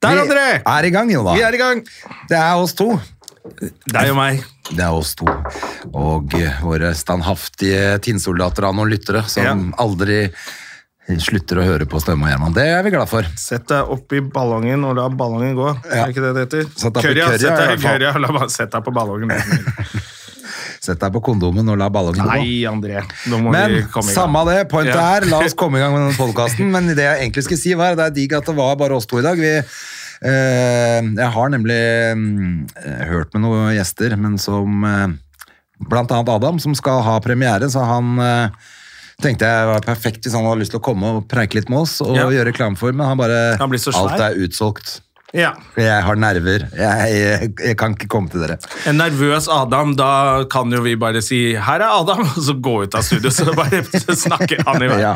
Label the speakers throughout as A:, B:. A: Der,
B: Vi Ah.
A: André!
B: er i gang, Jonna.
A: Vi er i gang.
B: Det er oss to.
A: Deg og meg.
B: Det er oss to. Og eh, våre standhaftige tinnsoldater av noen lyttere som
A: Ja.
B: aldri slutter å høre på Stømme og Gjerman. Det er vi glad for.
A: Sett deg opp i ballongen og la ballongen gå.
B: Ja.
A: Er ikke det det heter?
B: Sett deg på
A: Curry, ja.
B: curry,
A: Sett
B: ja, i
A: deg
B: hvert
A: i
B: fall.
A: curry, ja. La bare- Sett deg på ballongen.
B: Sett deg på kondomen og la ballongen gå.
A: Nei, André. Nå må
B: Men
A: vi komme i gang.
B: samme av det, pointet
A: Ja.
B: er, la oss komme i gang med denne podkasten. Men det jeg egentlig skulle si var, det er digg at det var bare oss to i dag. Vi, eh, jeg har nemlig mm, eh, hørt med noen gjester, men som eh, blant annet Adam, som skal ha premiere, så han eh, tenkte jeg var perfekt hvis han hadde lyst til å komme og preike litt med oss og
A: Ja.
B: gjøre reklame for, men han bare,
A: Han blir så svær.
B: alt er utsolgt.
A: Ja.
B: Jeg har nerver. Jeg, jeg, jeg kan ikke komme til dere.
A: En nervøs Adam, da kan jo vi bare si 'her er Adam', og så gå ut av studio. Så bare snakker han i vei.
B: Ja.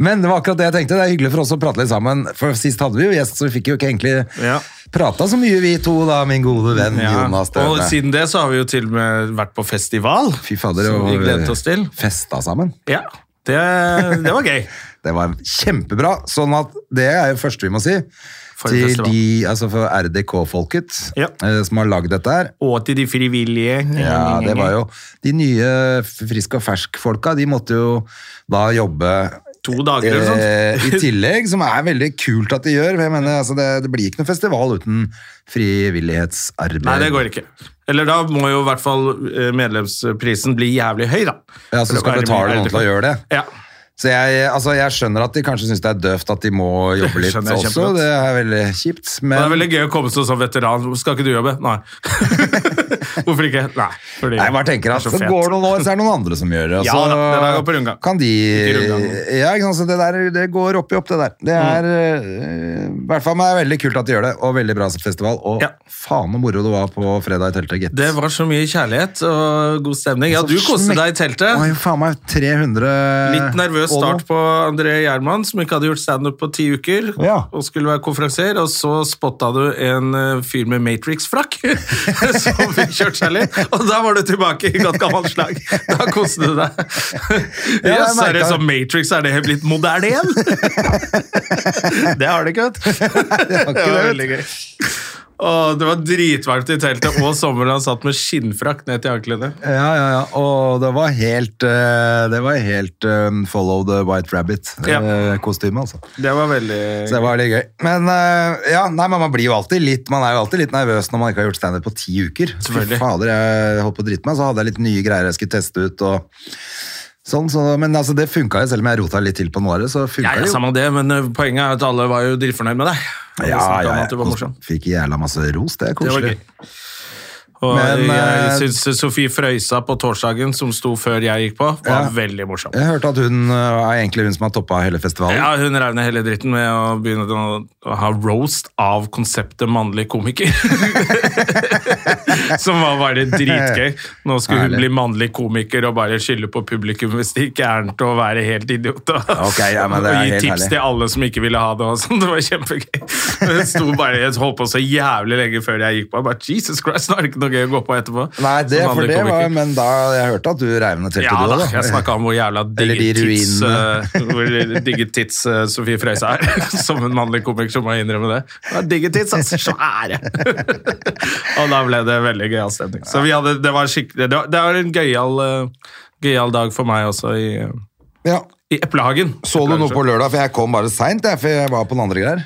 B: Men det var akkurat det jeg tenkte. Det er hyggelig for oss å prate litt sammen. For sist hadde vi jo gjest, så vi fikk jo ikke egentlig
A: Ja.
B: prata så mye, vi to, da, min gode venn
A: Ja.
B: Jonas
A: Og
B: Støme.
A: siden det så har vi jo til og med vært på festival,
B: Fy fader,
A: som vi
B: og-
A: gledet oss til.
B: Festa sammen.
A: Ja, det, det var gøy.
B: Det var kjempebra. Sånn at det er jo første vi må si.
A: For en
B: Til
A: festival.
B: de, altså for RDK-folket
A: Ja.
B: eh, som har lagd dette her.
A: Og til de frivillige.
B: Ja, det var jo De nye frisk og fersk-folka, de måtte jo da jobbe
A: To dager eller noe
B: Eh, I
A: sånt.
B: tillegg, som er veldig kult at de gjør. for Jeg mener, altså, det, det blir ikke noe festival uten frivillighetsarbeid.
A: Nei, det går ikke. Eller da må jo i hvert fall eh, medlemsprisen bli jævlig høy, da.
B: Ja, så du skal betale noen til å gjøre det.
A: Ja.
B: Så jeg, altså, jeg skjønner at de kanskje syns det er døvt at de må jobbe litt
A: skjønner jeg
B: også.
A: kjempegodt.
B: Det er veldig kjipt.
A: Og Det
B: Men
A: er veldig gøy å komme som sånn veteran. Skal ikke du jobbe? Nei. Hvorfor ikke? Nei. Fordi
B: Nei, jeg bare tenker at så,
A: det er så fet.
B: går det noen år, så er det noen andre som gjør det. og
A: Ja
B: så
A: da, det der går på rundgang.
B: Kan de
A: Ikke rundgang. Mm.
B: Ja, ikke sant. Så det der det går opp i opp, det der. Det er eh, i hvert fall meg veldig kult at de gjør det, og veldig bra festival. Og
A: Ja.
B: faen så moro det var på fredag i teltet, gitt.
A: Det var så mye kjærlighet og god stemning. Ja, du koste deg i
B: Det var
A: teltet.
B: jo Sånn faen meg 300
A: Litt nervøs
B: Eh, og noe.
A: start på André Gjerman, som ikke hadde gjort standup på ti uker.
B: Ja.
A: Og skulle være konferansier, og så spotta du en eh, fyr med Matrix-frakk som fikk kjørt seg litt. Og da var du tilbake i godt gammelt slag. Da koste du deg.
B: jeg
A: Ja, så er det
B: merket det.
A: som Matrix, er det blitt moderne igjen? Det har det ikke, vet du.
B: Det var
A: Det
B: ikke
A: var
B: det,
A: veldig
B: vet du.
A: gøy. Å, det var dritvarmt i teltet, og sommeren han satt med skinnfrakk ned til anklene.
B: Ja, ja, ja. Og det var helt, eh, det var helt eh, Follow the White
A: Ja.
B: Rabbit-kostyme, altså.
A: Det var veldig
B: Så det var litt gøy. Men eh, ja, nei, men man blir jo alltid litt Man er jo alltid litt nervøs når man ikke har gjort standup på ti uker. Fy
A: Selvfølgelig.
B: Fader, jeg holdt på å drite meg, så hadde jeg litt nye greier jeg skulle teste ut. og sånn, så, Men altså, det funka jo, selv om jeg rota litt til på noe av det. så
A: Ja,
B: funket
A: ja,
B: det jo.
A: samme det, men eh, poenget er at alle var jo dritfornøyd med deg. Og
B: Ja,
A: snakket
B: ja,
A: om
B: ja.
A: At du var morsom.
B: Fikk jævla masse ros, det er
A: Det var
B: koselig.
A: gøy. Og
B: Men,
A: jeg
B: eh,
A: syns Sofie Frøysa på torsdagen, som sto før jeg gikk på, var
B: Ja.
A: veldig morsom.
B: Jeg hørte at hun øh, er egentlig hun som har toppa hele festivalen.
A: Ja, Hun rev ned hele dritten med å begynne å- å ha roast av konseptet mannlig komiker. Som var bare dritgøy. Nå skulle hun
B: Herlig.
A: bli mannlig komiker og bare skylde på publikum hvis det gikk gærent og være helt idiot. Og,
B: Ok, ja, men det er
A: og gi
B: helt
A: tips
B: herlig.
A: til alle som ikke ville ha det. Og sånn. det var kjempegøy. Men Hun sto bare, jeg holdt på så jævlig lenge før jeg gikk på. Jeg bare, Jesus Christ, nå er det ikke noe gøy å gå på etterpå.
B: Nei, det,
A: Som
B: for
A: mannlig
B: det var,
A: komiker.
B: men da, jeg hørte at du reiv ned teltet,
A: Ja
B: du
A: da,
B: også,
A: jeg snakka om hvor jævla
B: Eller de
A: digge tits,
B: ruinene.
A: eh, hvor digge tits eh, Sofie Frøysa er. Som en mannlig komiker som må jeg innrømme det. Ja, digge tits, altså! Svære! og da ble det veldig gøyal stemning. Så vi hadde, det var skikkelig Det var, det var en gøyal eh, gøyal dag for meg også i, eh,
B: Ja.
A: i Eplehagen.
B: Så du noe på lørdag? For jeg kom bare seint, jeg, for jeg var på den andre greier.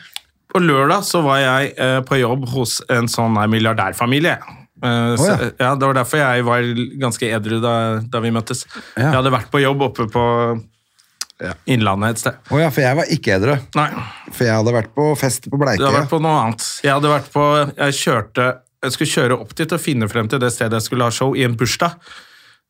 A: På lørdag så var jeg eh, på jobb hos en sånn her milliardærfamilie. Eh, så,
B: Å,
A: ja, det var derfor jeg var ganske edru da, da vi møttes.
B: Ja.
A: Jeg hadde vært på jobb oppe på Innlandet et sted.
B: Å ja, for jeg var ikke edru.
A: Nei,
B: For jeg hadde vært på fest på
A: jeg
B: Bleike.
A: hadde vært på noe annet. Jeg hadde vært på Jeg kjørte Jeg skulle kjøre opp dit og finne frem til det stedet jeg skulle ha show, i en bursdag.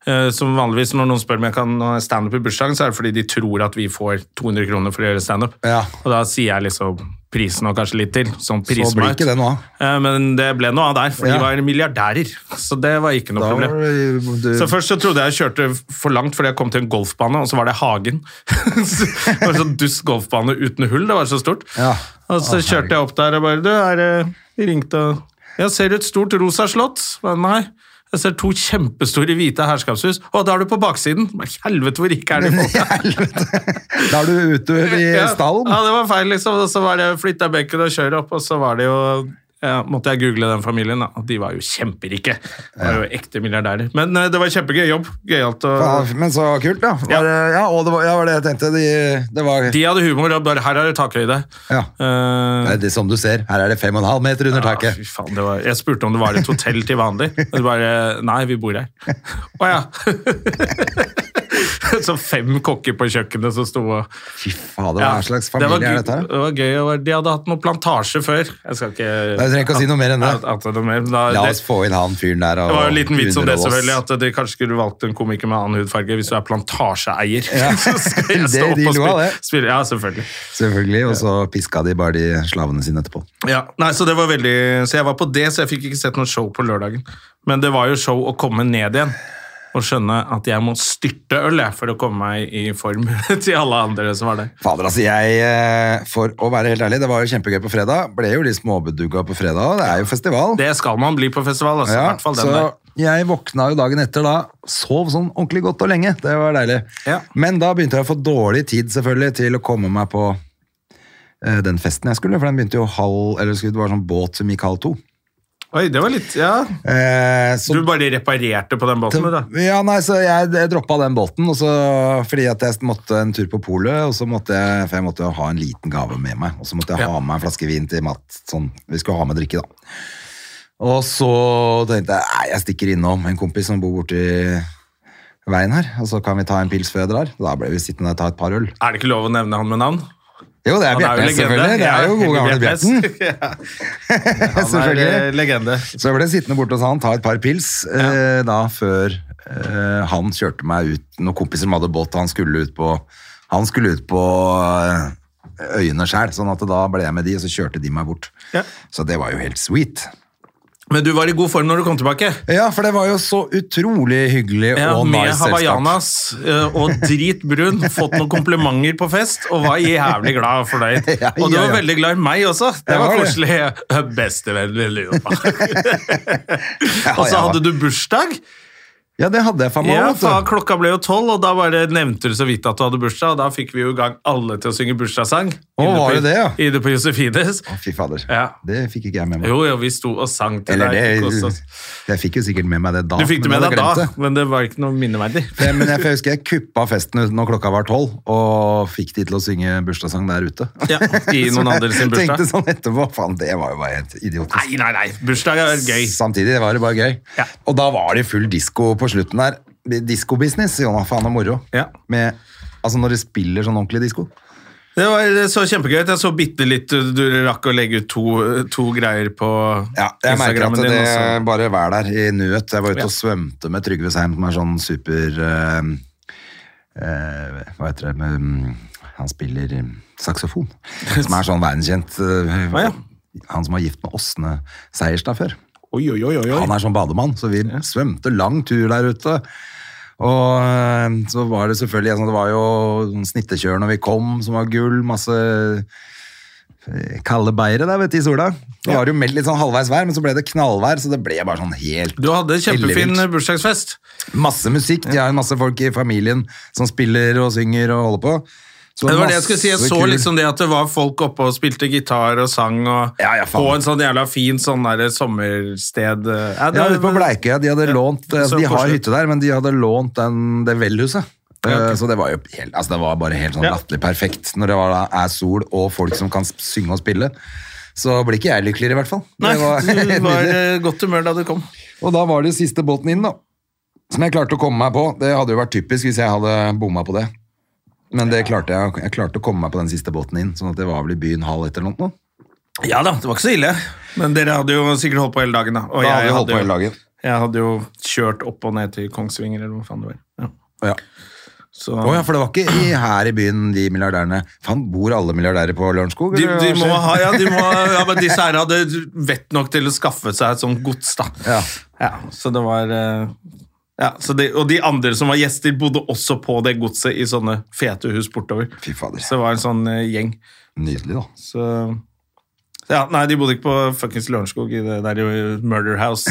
A: Eh, Som vanligvis når noen spør om jeg kan ha standup i bursdagen, så er det fordi de tror at vi får 200 kroner for å gjøre standup.
B: Ja.
A: Og da sier jeg liksom prisen og kanskje litt til. Sånn
B: Så blir
A: prismark.
B: ikke det noe av.
A: Eh, Men det ble noe av der, for
B: Ja.
A: de var milliardærer. Så det var ikke noe
B: Da var
A: problem.
B: det- du-
A: Så først så trodde jeg jeg kjørte for langt fordi jeg kom til en golfbane, og så var det hagen. Så det var en sånn dust golfbane uten hull, det var så stort.
B: Ja.
A: Og så kjørte jeg opp der og bare, du, er det... De ringte og... Jeg ser et stort rosa slott. Men nei, jeg ser to kjempestore hvite herskapshus. Å, da er du på baksiden. Men helvete, hvor ikke er det folk?
B: Da er du ute i
A: Ja.
B: stallen.
A: Ja, det var feil, liksom. Og så var det flytta benken og kjøre opp, og så var det jo ja, måtte jeg google den familien, da. og de var jo kjemperike. De var jo ekte milliardærer. Men eh, det var kjempegøy jobb. Gøyalt å
B: Ja, Men så kult, da. Var,
A: Ja.
B: det- ja, og det var, ja, var det jeg tenkte. De, det var
A: De hadde humor, og bare her er det takhøyde.
B: Ja.
A: Eh,
B: Nei, det, Som du ser, her er det 5,5 meter under
A: ja,
B: taket.
A: fy faen, det var, jeg spurte om det var et hotell til vanlig. Og de bare Nei, vi bor her. Å ja. Så fem kokker på kjøkkenet som sto og
B: Fy fader,
A: Ja,
B: hva slags familie
A: det var,
B: er
A: gu-
B: dette her? da?
A: Det var gøy. å være- De hadde hatt noe plantasje før. Jeg skal ikke...
B: Nei, du trenger ikke å si noe mer enn det.
A: At- at det er noe mer, men da,
B: La
A: det-
B: oss få inn han fyren der. Og
A: det var jo en liten vits om det,
B: underholde oss.
A: selvfølgelig, at de kanskje skulle valgt en komiker med annen hudfarge hvis du er plantasjeeier.
B: Ja.
A: Så skal jeg
B: Det-
A: stå opp
B: de
A: og
B: lo av
A: spille,
B: det.
A: spille. Ja, selvfølgelig.
B: Selvfølgelig, Og så piska de bare de slavene sine etterpå.
A: Ja, nei, så det var veldig Så jeg var på det, så jeg fikk ikke sett noe show på lørdagen. Men det var jo show å komme ned igjen og skjønne at jeg må styrte øl jeg, for å komme meg i form til alle andre som var der.
B: Fader, altså jeg, eh, for å være helt ærlig, det var jo kjempegøy på fredag. Ble jo litt småbedugga på fredag, og det er jo festival.
A: Det skal man bli på festival, altså. I
B: Ja,
A: hvert fall den
B: så
A: der.
B: jeg våkna jo dagen etter da, sov sånn ordentlig godt og lenge. Det var deilig.
A: Ja.
B: Men da begynte jeg å få dårlig tid selvfølgelig til å komme meg på eh, den festen jeg skulle, for den begynte jo halv, eller skulle det var sånn båt som gikk halv to.
A: Oi, det var litt Ja.
B: Eh, så
A: Du bare reparerte på den båten, du, da.
B: ja, nei, så jeg, jeg droppa den båten, og så, fordi at jeg måtte en tur på polet, og så måtte jeg, for jeg måtte jo ha en liten gave med meg, og så måtte jeg
A: Ja.
B: ha med meg en flaske vin til Matt, sånn, vi skulle ha med drikke da. Og så tenkte jeg, nei, jeg stikker innom en kompis som bor borti veien her, og så kan vi ta en pils før jeg drar. Da ble vi sittende og ta et par øl.
A: Er det ikke lov å nevne han med navn?
B: Jo, det er
A: Han er jo
B: Bjertnæs
A: legende.
B: selvfølgelig, det
A: Ja,
B: er jo god
A: Helge
B: gammel Bjertnæs.
A: Bjertnæs. Ja, Han er
B: Selvfølgelig.
A: eh, legende.
B: Så jeg ble sittende borte hos han, ta et par pils, eh, da før eh, han kjørte meg ut, noen kompiser som hadde båt, og han skulle ut på, han skulle ut på eh, øyene selv, sånn at da ble jeg med de, og så kjørte de meg bort.
A: Ja.
B: Så det var jo helt sweet.
A: Men du var i god form når du kom tilbake.
B: Ja, for det var jo så utrolig hyggelig
A: Ja,
B: og
A: med
B: nice selskap.
A: hawaiianas eh, og dritbrun, fått noen komplimenter på fest og var jævlig glad og fornøyd.
B: Ja,
A: Og du
B: ja,
A: var
B: ja.
A: veldig glad i meg også. Det
B: Jeg
A: var
B: var det.
A: koselig. Bestevenn lille Jonas. Og
B: jeg
A: så
B: var-
A: hadde du bursdag.
B: Ja, det hadde jeg faen meg
A: Ja,
B: vet du.
A: faen, Klokka ble jo tolv, og da bare nevnte du så vidt at du hadde bursdag. Og da fikk vi jo i gang alle til å synge bursdagssang. Inne
B: var
A: på-
B: det det, ja?
A: Inne på Josefines.
B: Å, Fy fader,
A: Ja.
B: det fikk ikke jeg med meg.
A: Jo, jo, vi sto og sang til
B: Eller
A: deg. koste
B: det,
A: oss.
B: jeg fikk jo sikkert med meg det da.
A: Du fikk det
B: men
A: med
B: jeg
A: deg
B: hadde glemt
A: da,
B: det.
A: men det var ikke noe minneverdig.
B: Det, Eh, men jeg, for jeg husker jeg kuppa festen ut når klokka var tolv, og fikk de til å synge bursdagssang der ute.
A: Ja, I noen andre sin
B: Tenkte
A: bursdag.
B: sånn etterpå, faen, det var jo bare helt idiotisk.
A: Nei, nei, nei. Bursdag er gøy.
B: Samtidig var det bare gøy.
A: Ja.
B: Og da var det full disko på slutten der. Disko-business, Jonas, faen og moro.
A: Ja.
B: Med, altså når de spiller sånn ordentlig disko.
A: Det var det så kjempegøy ut. Jeg så bitte litt Du du rakk å legge ut to, to greier på
B: Ja, jeg merker at
A: Instagrammen
B: det
A: din. også.
B: bare vær der i nuet. Jeg var ute
A: Ja.
B: og svømte med Trygve Seim, som er sånn super eh, eh, Hva heter det med, mm, Han spiller eh, saksofon. Som er sånn verdenskjent. eh,
A: Å, ja.
B: Han som var gift med Åsne Seierstad før.
A: Oi, oi, oi, oi.
B: Han er sånn bademann, så vi svømte lang tur der ute. Og eh, så var det selvfølgelig sånn, Det var jo sånn snittekjør når vi kom, som var gull. Masse eh, kalde beire der, vet du, i sola. Det var jo meldt litt sånn halvveis vær, men så ble det knallvær, så det ble bare sånn helt
A: Du hadde kjempefin
B: Ellevilt.
A: bursdagsfest.
B: Masse musikk. De har jo masse folk i familien som spiller og synger og holder på. Så
A: Det var det jeg skulle si. Jeg
B: masse
A: så
B: kul-
A: liksom det at det var folk oppe og spilte gitar og sang og
B: Ja, ja, faen.
A: på en sånn jævla fin sånn derre sommersted. Ja, det-
B: Ja, ute på Bleikøya. De hadde lånt eh,
A: Så
B: altså, De har
A: koselig.
B: hytte der, men de hadde lånt den, det velhuset.
A: Ja, ok.
B: Eh, Så det var jo helt, altså det var bare helt sånn
A: Ja.
B: latterlig perfekt når det var, da, er sol og folk som kan s- synge og spille. Så blir ikke jeg lykkeligere, i hvert fall. Det
A: Nei,
B: var
A: du
B: helt
A: var eh,
B: nydelig.
A: i godt humør da du kom.
B: Og da var det siste båten inn, da. Som jeg klarte å komme meg på. Det hadde jo vært typisk hvis jeg hadde bomma på det. Men det klarte jeg. Jeg klarte å komme meg på den siste båten inn, sånn at det var vel i byen halv etter noe.
A: Ja da, det var ikke så ille. Men dere hadde jo sikkert holdt på hele dagen, da. Og
B: Da hadde vi
A: jeg,
B: holdt på hele
A: jo,
B: dagen.
A: jeg hadde jo kjørt opp og ned til Kongsvinger, eller hvor faen det var. Ja.
B: Ja.
A: Så,
B: Å ja, for det var ikke i, her i byen de milliardærene Faen, bor alle milliardærer på Lørenskog?
A: de,
B: eller
A: de
B: hva
A: må
B: skjer?
A: ha, ja, de må, ha- ja, men disse her hadde vett nok til å skaffe seg et sånt gods, da.
B: Ja.
A: så det var eh, ja, så de, Og de andre som var gjester, bodde også på det godset i sånne fete hus bortover.
B: Fy fader.
A: Så det var en sånn eh, gjeng.
B: Nydelig, da.
A: Så ja, Nei, de bodde ikke på fuckings Lørenskog, i det der eh, Murder House.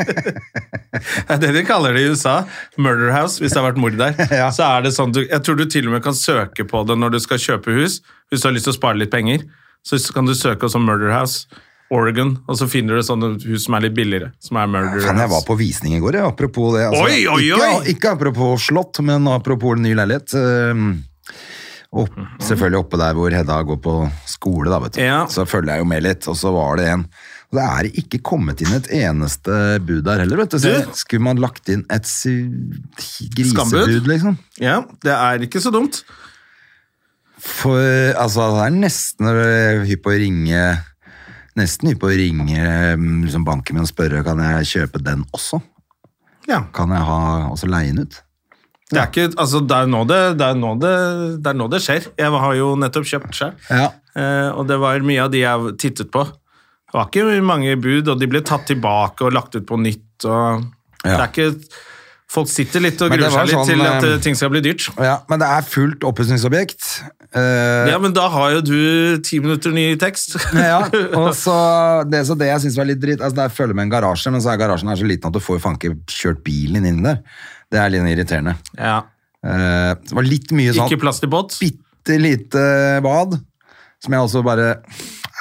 A: det er det de kaller det i USA. Murder House, hvis det har vært mord der.
B: Ja.
A: Så er det sånn, du, Jeg tror du til og med kan søke på det når du skal kjøpe hus, hvis du har lyst til å spare litt penger. Så kan du søke også Murder House, Oregon, og så finner du sånne hus som er litt billigere. som er Murder
B: Faen, jeg var
A: House.
B: på visning i går, jeg. Apropos det. altså.
A: Oi, oi, oi!
B: Ikke, ikke apropos slott, men apropos ny leilighet. ehm, opp, selvfølgelig oppe der hvor Hedda går på skole, da, vet du.
A: Ja.
B: Så følger jeg jo med litt, og så var det en. Og det er ikke kommet inn et eneste bud der heller, vet du. Så
A: Du?
B: skulle man lagt inn et sy-
A: Skambud?
B: grisebud, liksom?
A: Ja, Det er ikke så dumt.
B: For altså, det er nesten øh, hypp på å ringe Nesten hypp på å ringe øh, liksom banken min og spørre kan jeg kjøpe den også.
A: Ja.
B: Kan jeg ha også leie den ut?
A: Det er, ikke, altså, det, er nå det, det, er nå det, det er nå det skjer. Jeg har jo nettopp kjøpt selv,
B: Ja.
A: eh, og det var mye av de jeg tittet på. Det var ikke mange bud, og de ble tatt tilbake og lagt ut på nytt. Og det
B: Ja.
A: er ikke, folk sitter litt og
B: Men det
A: gruer
B: var
A: seg litt
B: sånn,
A: til at
B: eh,
A: eh, ting skal bli dyrt.
B: Ja, men det er fullt oppussingsobjekt. Eh,
A: Ja, men da har jo du ti minutter ny tekst.
B: ja, og så det, så det jeg syns var litt dritt altså Jeg følger med en garasje, men så er garasjen her så liten at du får jo faen ikke kjørt bilen inn der. Det er litt irriterende.
A: Ja.
B: Eh, det var litt mye sånn
A: Ikke plass til båt.
B: bitte lite bad, som jeg også bare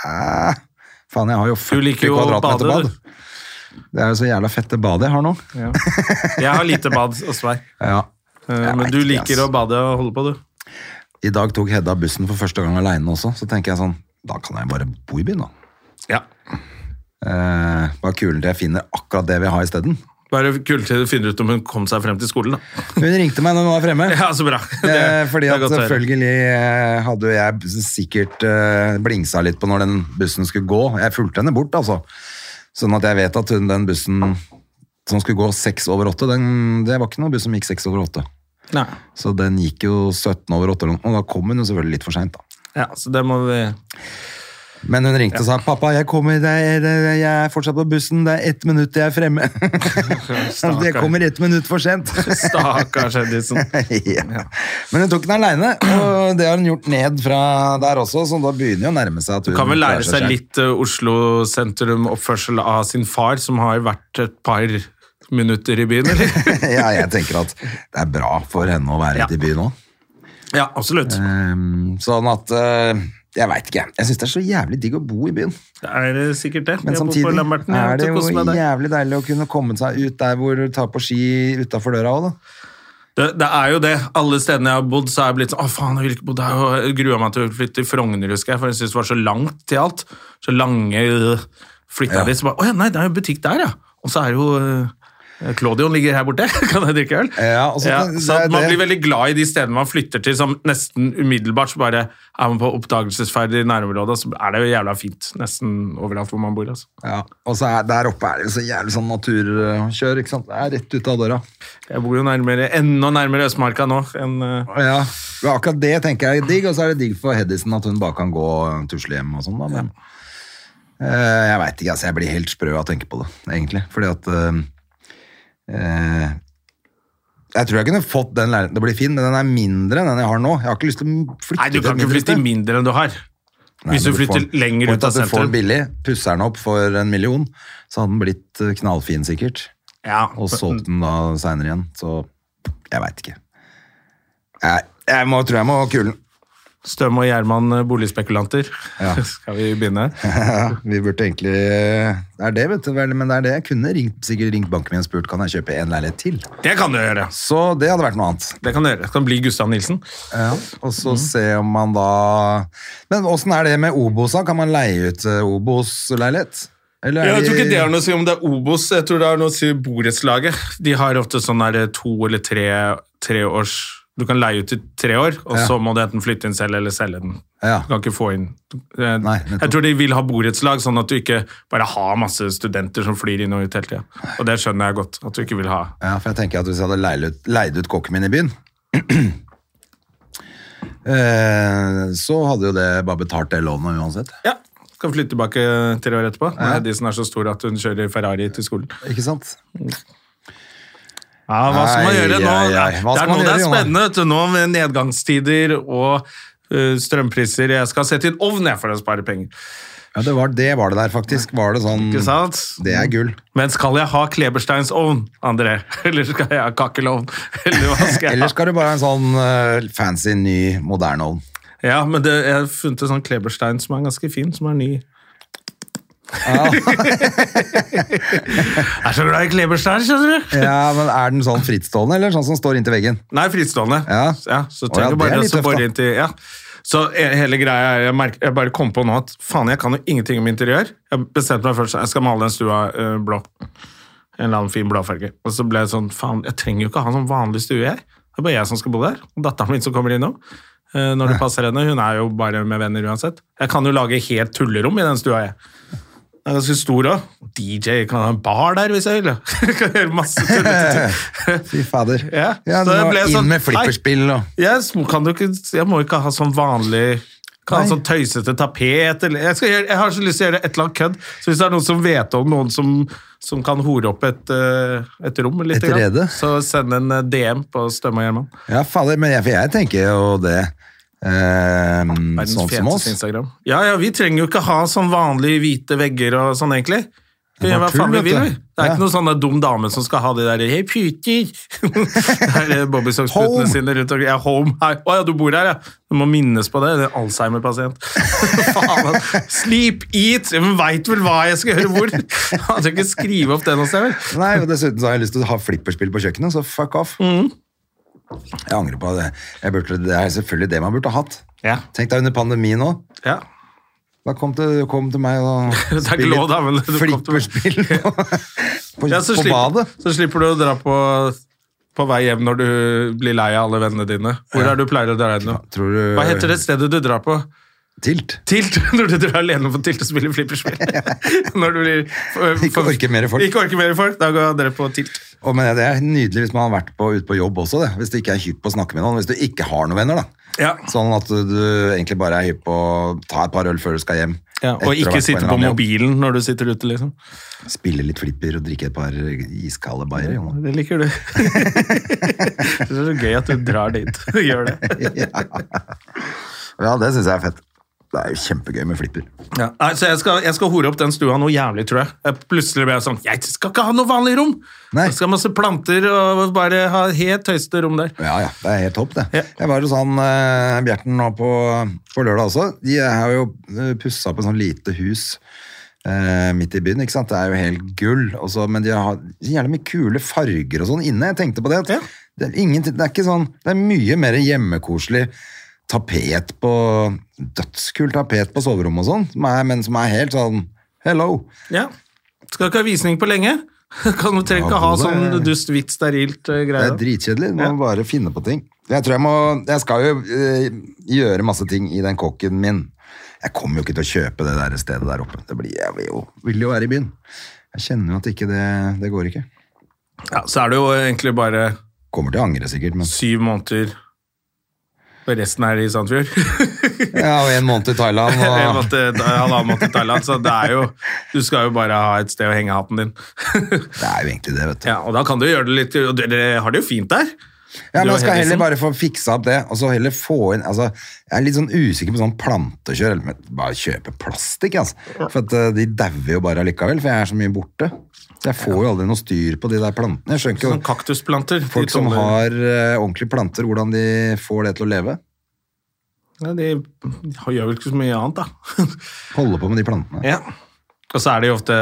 B: eh, Faen, jeg har jo
A: Du
B: 40
A: liker jo å
B: kvadratmeter
A: bade,
B: bad. Det er jo så jævla fette bad jeg har nå.
A: Ja. Jeg har lite bad hos meg,
B: Ja.
A: eh,
B: Jeg
A: men
B: vet
A: du
B: ikke,
A: liker
B: ass.
A: å bade og holde på, du.
B: I dag tok Hedda bussen for første gang aleine også, så tenker jeg sånn Da kan jeg bare bo i byen, da.
A: Ja.
B: Eh, bare kulere til jeg finner akkurat det vi har isteden.
A: Bare kult til du finner ut om hun kom seg frem til skolen, da.
B: Hun ringte meg når hun var fremme.
A: Ja, så bra. Det-
B: Eh,
A: det
B: fordi
A: er
B: at
A: godt å høre.
B: selvfølgelig eh, hadde jo jeg b- sikkert eh, blingsa litt på når den bussen skulle gå. Jeg fulgte henne bort, altså. Sånn at jeg vet at hun, den bussen som skulle gå seks over åtte, den, det var ikke noen buss som gikk seks over åtte.
A: Nei.
B: Så den gikk jo 17 over åtte, eller noe, og da kom hun jo selvfølgelig litt for seint, da.
A: Ja, så det må vi...
B: Men hun ringte og sa 'pappa, jeg kommer, det er, det er, jeg er fortsatt på bussen, det er ett minutt til jeg er fremme'. det kommer ett minutt for sent.
A: Stakkars Edison.
B: ja. Men hun tok den aleine, og det har hun gjort ned fra der også, så da begynner jo å nærme seg at hun
A: Kan vel lære
B: klarer
A: seg
B: selv.
A: litt eh, Oslo sentrum-oppførsel av sin far, som har vært et par minutter i byen, eller?
B: ja, jeg tenker at det er bra for henne å være
A: Ja.
B: litt i byen òg.
A: Ja, absolutt.
B: Sånn at eh, Jeg veit ikke. Jeg syns det er så jævlig digg å bo i byen.
A: Det er eh, sikkert det.
B: Men
A: Jeg bor på
B: samtidig
A: Lambertsen, jeg
B: er det
A: vet
B: jo
A: ikke hvordan det er.
B: jævlig deilig å kunne komme seg ut der hvor du tar på ski utafor døra òg, da.
A: Det, det er jo det. Alle stedene jeg har bodd, så er jeg blitt sånn Å, faen, jeg vil ikke bo der. Og jeg grua meg til å flytte til Frogner, husker jeg, for jeg syntes det var så langt til alt. Så lange øh, flytta
B: Ja.
A: dit. Så bare Å ja, nei, det er jo butikk der, ja. Og så er det jo øh, Claudion ligger her borte, kan jeg drikke øl?
B: Ja, og så-
A: ja,
B: det
A: så
B: er
A: man
B: det.
A: blir veldig glad i de stedene man flytter til, som nesten umiddelbart så bare er man på oppdagelsesferd i nærområdet, og så er det jo jævla fint nesten overalt hvor man bor. altså.
B: Ja, og så er der oppe er det jo så jævlig sånn naturkjør, ikke sant? Det er rett ut av døra.
A: Jeg bor jo nærmere, enda nærmere Østmarka nå enn øh,
B: Ja, men akkurat det tenker jeg er digg, og så er det digg for Hedison at hun bare kan gå og tusle hjem og sånn da, men eh, jeg vet ikke, altså jeg blir helt sprø av å tenke på det, egentlig, fordi at eh, eh, jeg tror jeg kunne fått den leiligheten til å bli fin, men den er mindre enn den jeg har nå. Jeg har ikke lyst til å flytte
A: Nei,
B: til et
A: du kan ikke
B: mindre
A: flytte
B: sted.
A: mindre enn du har.
B: Nei,
A: Hvis
B: men
A: du
B: får
A: flytter
B: den-
A: lenger ut av
B: Du får den
A: sentrum.
B: billig, pusser den opp for en million, så hadde den blitt eh, knallfin sikkert.
A: Ja,
B: Og solgte den da seinere igjen, så jeg veit ikke. Jeg, jeg må, tror jeg må ha kulen.
A: Støm og Gjerman eh, boligspekulanter.
B: Ja.
A: Skal vi begynne?
B: Vi burde egentlig eh, Det er det, vet du vel, men det er det. Jeg kunne ringt, sikkert ringt banken min og spurt kan jeg kjøpe en leilighet til.
A: Det kan du gjøre.
B: Så det hadde vært noe annet.
A: Det kan du gjøre. Det kan bli Gustav Nilsen.
B: Og
A: Mhm.
B: så se om man da Men åssen er det med Obos-a? Kan man leie ut eh, Obos-leilighet? Eller
A: Jeg tror
B: de-
A: ikke det har noe å si om det er Obos. Jeg tror det har noe å si borettslaget. De har ofte sånn der eh, to eller tre, tre års Du kan leie ut i tre år, og
B: Ja.
A: så må du enten flytte inn selv eller selge den.
B: Ja.
A: Du kan ikke få inn eh,
B: Nei, nettopp.
A: Jeg tror de vil ha borettslag, sånn at du ikke bare har masse studenter som flyr inn og ut hele tida. Og det skjønner jeg godt, at du ikke vil ha.
B: Ja, for jeg tenker at hvis jeg hadde leid ut, leid ut kokken min i byen, eh, så hadde jo det bare betalt det lånet uansett.
A: Ja, skal flytte tilbake tre år etterpå. Det er de som er så store at hun kjører Ferrari til skolen.
B: Ikke sant?
A: Ja, hva skal man
B: Ai,
A: gjøre nå?
B: ai, ai. Hva
A: Det
B: skal
A: er
B: man
A: nå det er
B: gjøre, Jonas?
A: spennende, vet du. Nå med nedgangstider og eh, strømpriser. Jeg skal sette inn ovn jeg for å spare penger.
B: Ja, det var det, var det der faktisk. Var det sånn...
A: Ikke sant?
B: Det er gull.
A: Men skal jeg ha Klebersteinsovn, André? Eller skal jeg ha kakkelovn? Eller hva skal jeg
B: Eller
A: ha?
B: skal du bare ha en sånn eh, fancy, ny, moderne ovn?
A: Ja, men det, jeg har funnet en sånn Kleberstein som er ganske fin, som er ny.
B: Ah.
A: jeg er så glad i Kleberstein, skjønner du.
B: Ja, men er den sånn frittstående, eller sånn som står inntil veggen?
A: Nei, frittstående.
B: Ja. Å,
A: så
B: ja,
A: trenger
B: det er
A: du bare
B: litt
A: å
B: tøft, da.
A: bore inn til ja. Så eh, hele greia er jeg, merker, jeg bare kom på nå at faen, jeg kan jo ingenting om interiør. Jeg bestemte meg først jeg skal male den stua eh, blå. En eller annen fin blåfarge. Og så ble jeg sånn faen, jeg trenger jo ikke ha sånn vanlig stue her. Det er bare jeg som skal bo der. Og datteren min som kommer innom. eh, Når det passer henne. Hun er jo bare med venner uansett. Jeg kan jo lage helt tullerom i den stua, jeg. Den er ganske stor òg. DJ kan ha en bar der hvis jeg vil. Jeg kan gjøre masse tullete ting.
B: Fy fader.
A: Ja,
B: ja
A: så
B: det
A: det
B: var
A: ble
B: inn
A: sånn-
B: med flipperspill og
A: Jeg, sm- kan jo ikke, jeg må ikke ha sånn vanlig kan ha
B: Nei.
A: sånn tøysete tapet eller jeg, skal gjøre, jeg har så lyst til å gjøre et eller annet kødd. Så hvis det er noen som vet om noen som, som kan hore opp et, eh, et rom, litt,
B: Et rede.
A: så send en eh, DM på Stømme og Gjerman.
B: Ja, fader, men jeg, for jeg tenker jo det eh,
A: Verdens
B: Sånn som oss.
A: feteste Instagram. Ja, ja, vi trenger jo ikke ha sånn vanlige hvite vegger og sånn, egentlig. Vi
B: Det er
A: gjør
B: bare
A: hva faen vi
B: tull,
A: vil,
B: vet
A: vi.
B: du.
A: Det er
B: Ja.
A: ikke noen sånn der dum dame som skal ha de der Hei, puter! det er eh,
B: Home.
A: bobbysocks-puttene sine rundt omkring. Ja, home. Hei. Å ja, du bor her, ja. Du må minnes på det. Det er en Alzheimer-pasient. faen, altså. Sleep, eat Men veit vel hva jeg skal gjøre hvor? Han trenger ikke skrive opp det noe sted, vel?
B: Nei, og dessuten så har jeg lyst til å ha flipperspill på kjøkkenet, så fuck off.
A: Mm.
B: Jeg angrer på det. Jeg burde, det er selvfølgelig det man burde ha hatt.
A: Ja.
B: Tenk deg under pandemien nå.
A: ja.
B: Da kom til, kom til meg og
A: Det er ikke lov, da, men du kom til meg.
B: flipperspill på, på,
A: Ja, så,
B: på
A: slipper,
B: badet.
A: så slipper du å dra på, på vei hjem når du blir lei av alle vennene dine. Hvor er det du pleier å dra hjem nå?
B: Tror du
A: Hva heter det stedet du drar på?
B: Tilt.
A: Tilt, når du drar alene på tilt og spiller flipperspill. Når du blir for-
B: Ikke
A: for-
B: orker mer folk.
A: Ikke orker mer folk, Da går dere på tilt.
B: Å, men det er nydelig hvis man har vært på, ute på jobb også, det. Hvis du ikke er hypp på å snakke med noen. Hvis du ikke har noen venner, da.
A: Ja.
B: Sånn at du egentlig bare er hypp på å ta et par øl før du skal hjem. Etter å ha
A: og
B: vært
A: ikke
B: en
A: sitte
B: eller
A: på
B: annen jobb.
A: mobilen når du sitter ute, liksom.
B: Spille litt flipper og drikke et par iskalde bayer. Jonas.
A: Det liker du. det er så gøy at du drar dit og gjør det.
B: Ja, det syns jeg er fett. Det er jo kjempegøy med flipper.
A: Ja. Nei, så jeg skal, jeg skal hore opp den stua noe jævlig, tror jeg. jeg. Plutselig ble jeg sånn Jeg skal ikke ha noe vanlig rom!
B: Nei.
A: Jeg skal ha masse planter og bare ha helt tøyste rom der.
B: Ja, ja, det er helt topp, det.
A: Ja.
B: Jeg var hos han eh, Bjerten nå på, på lørdag også. De har jo eh, pussa opp et sånn lite hus eh, midt i byen, ikke sant. Det er jo helt gull. Og så- men de har så jævlig mye kule farger og sånn inne. Jeg tenkte på det. At
A: Ja.
B: det, er ingenting- det er ikke sånn Det er mye mer hjemmekoselig tapet på Dødskult tapet på soverommet og sånn, som er- men som er helt sånn hello.
A: Ja. Skal ikke ha visning på lenge. Kan du
B: Ja,
A: trenger ikke ha
B: det-
A: sånn dust, hvitt, sterilt eh,
B: Det
A: greie.
B: er dritkjedelig. Du må
A: Ja.
B: bare finne på ting. Jeg tror jeg må Jeg skal jo eh, gjøre masse ting i den kokken min. Jeg kommer jo ikke til å kjøpe det der stedet der oppe. Det blir, jeg vil jo, vil jo være i byen. Jeg kjenner jo at ikke det, det går ikke.
A: Ja, så er det jo egentlig bare
B: Kommer til å angre, sikkert, men
A: syv måneder, og resten er i Sandfjord.
B: Ja, og en måned i Thailand,
A: En
B: og
A: måned- Halvannen måned i Thailand, så det er jo Du skal jo bare ha et sted å henge hatten din.
B: Det er jo egentlig det, vet du.
A: Ja, og da kan du gjøre det litt og Dere har det jo fint der.
B: Ja, men
A: Du og
B: jeg skal
A: Hedvigsen?
B: heller sånn. bare få fiksa opp det, og så heller få inn Altså, jeg er litt sånn usikker på sånn plantekjør, eller men bare kjøpe plastikk, altså. For at eh, de dauer jo bare allikevel, for jeg er så mye borte. Så jeg får jo aldri noe styr på de der plantene. Jeg skjønner ikke
A: Sånn kaktusplanter. sånn- de
B: Folk som
A: tåler-
B: har eh, ordentlige planter, hvordan de får det til å leve.
A: ja, De har- gjør vel ikke så mye annet, da.
B: Holde på med de plantene.
A: Ja. Og så er de jo ofte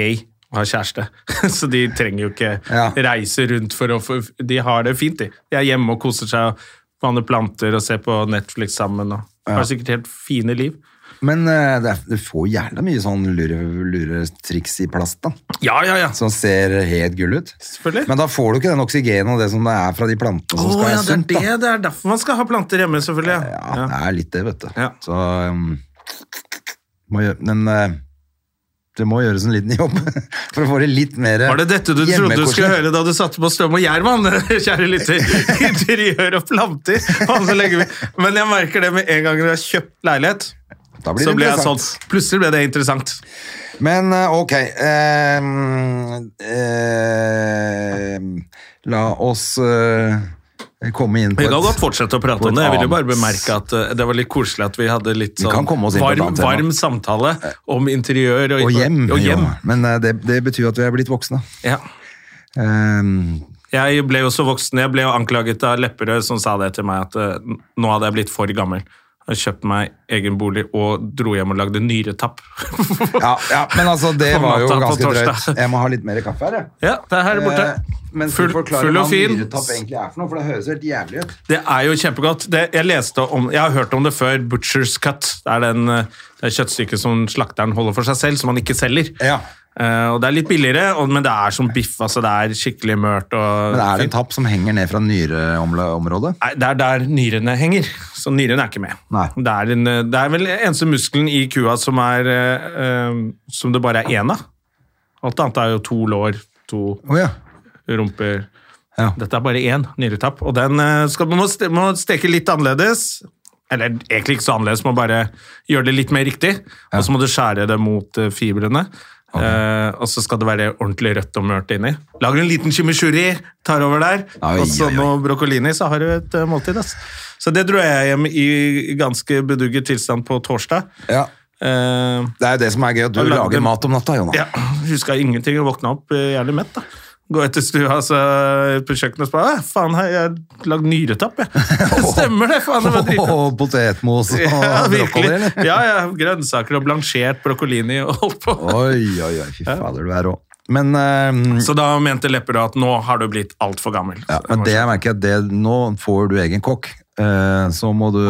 A: gay og har kjæreste, så de trenger jo ikke
B: Ja.
A: reise rundt for å få De har det fint, de. De er hjemme og koser seg og vanner planter og ser på Netflix sammen og har sikkert helt fine liv.
B: Men eh, det er, du får jævla mye sånn lure, luretriks i plast, da.
A: Ja, ja, ja.
B: Som ser helt gull ut.
A: Selvfølgelig.
B: Men da får du ikke den oksygenen og det som det er fra de plantene som
A: Å,
B: skal
A: ja,
B: være
A: det, er
B: sunt.
A: det,
B: da.
A: det er derfor man skal ha planter hjemme, selvfølgelig.
B: Ja,
A: Ja.
B: det er litt det, vet du.
A: Ja.
B: Så um, må gjøre, Men eh, det må gjøres en liten jobb for å få det litt mer
A: Var det dette du trodde du
B: hjemmekoselig.
A: skulle høre da du satte på Støm og Gjerman, kjære lytter? Interiør og planter. Faen, så legger vi. Men jeg merker det med en gang du har kjøpt leilighet,
B: Da blir det
A: så ble jeg sånn.
B: interessant.
A: Plutselig ble det interessant.
B: Men eh, ok ehm, ehm, La oss eh, komme inn på
A: Vi kan
B: et
A: godt fortsette å prate
B: på
A: om
B: et
A: det. Jeg ville bare
B: annet-
A: bemerke at eh, det var litt koselig at vi hadde litt
B: Vi
A: sånn
B: kan komme oss inn på et
A: varm,
B: annet tema.
A: varm samtale om interiør og,
B: Og hjem.
A: Og hjem.
B: jo. Men eh, det, det betyr jo at vi er blitt voksne.
A: Ja.
B: Ehm,
A: Jeg ble jo så voksen. Jeg ble jo anklaget av Lepperød, som sa det til meg, at eh, nå hadde jeg blitt for gammel. Jeg kjøpte meg egen bolig og dro hjem og lagde nyretapp.
B: ja, ja, men altså, det
A: På
B: var jo
A: natta på
B: ganske drøyt.
A: torsdag.
B: Jeg må ha litt mer kaffe her, jeg.
A: Ja, det er her borte.
B: Eh, Men
A: full, full og fin.
B: egentlig er for noe, for det høres helt jævlig ut.
A: Det er jo kjempegodt. Det, jeg, leste om, jeg har hørt om det før. Butcher's cut. Det er den, eh, det kjøttstykket som slakteren holder for seg selv, som han ikke selger.
B: Ja.
A: Eh, og Det er litt billigere, og, men det er som biff. altså Det er skikkelig mørt. Og
B: Men er det en
A: fint.
B: tapp som henger ned fra nyreområdet?
A: Nei, det er der nyrene henger, så nyrene er ikke med.
B: Nei.
A: Det, er en, eh, det er vel eneste muskelen i kua som, er, eh, eh, som det bare er én av. Alt annet er jo to lår, to
B: Å ja.
A: rumper.
B: Ja.
A: Dette er bare én nyretapp, og den eh, skal, man må, ste, må steke litt annerledes. Eller egentlig ikke så annerledes, man bare gjør det litt mer riktig. Og så må du skjære det mot eh, fibrene. Eh, og så skal det være ordentlig rødt og mørt inni. Lager en liten chimichurri, tar over der.
B: Oi,
A: og så
B: oi, oi.
A: noe broccolini, så har du et eh, måltid. Ass. Så det dro jeg hjem i ganske bedugget tilstand på torsdag.
B: ja.
A: Eh,
B: Det er jo det som er gøy, at du
A: Jeg lagde-
B: lager mat om natta, Jonas.
A: ja, huska ingenting og våkna opp eh, jævlig mett. da. Gå etter stua så på kjøkkenet og spør «Æ, faen, hei, jeg har lagd nyretapp. jeg». Stemmer det! faen, det var dritgodt.
B: Og potetmos og
A: Ja,
B: brokkoli,
A: virkelig.
B: eller?
A: Ja, ja, grønnsaker og blansjert brokkolini og holdt på.
B: Oi, oi, oi, fy fader, du er rå. Men, ehm,
A: Så da mente Lepperød at nå har du blitt altfor gammel.
B: ja, men det jeg merker at det, nå får du egen kokk, Eh, så må du,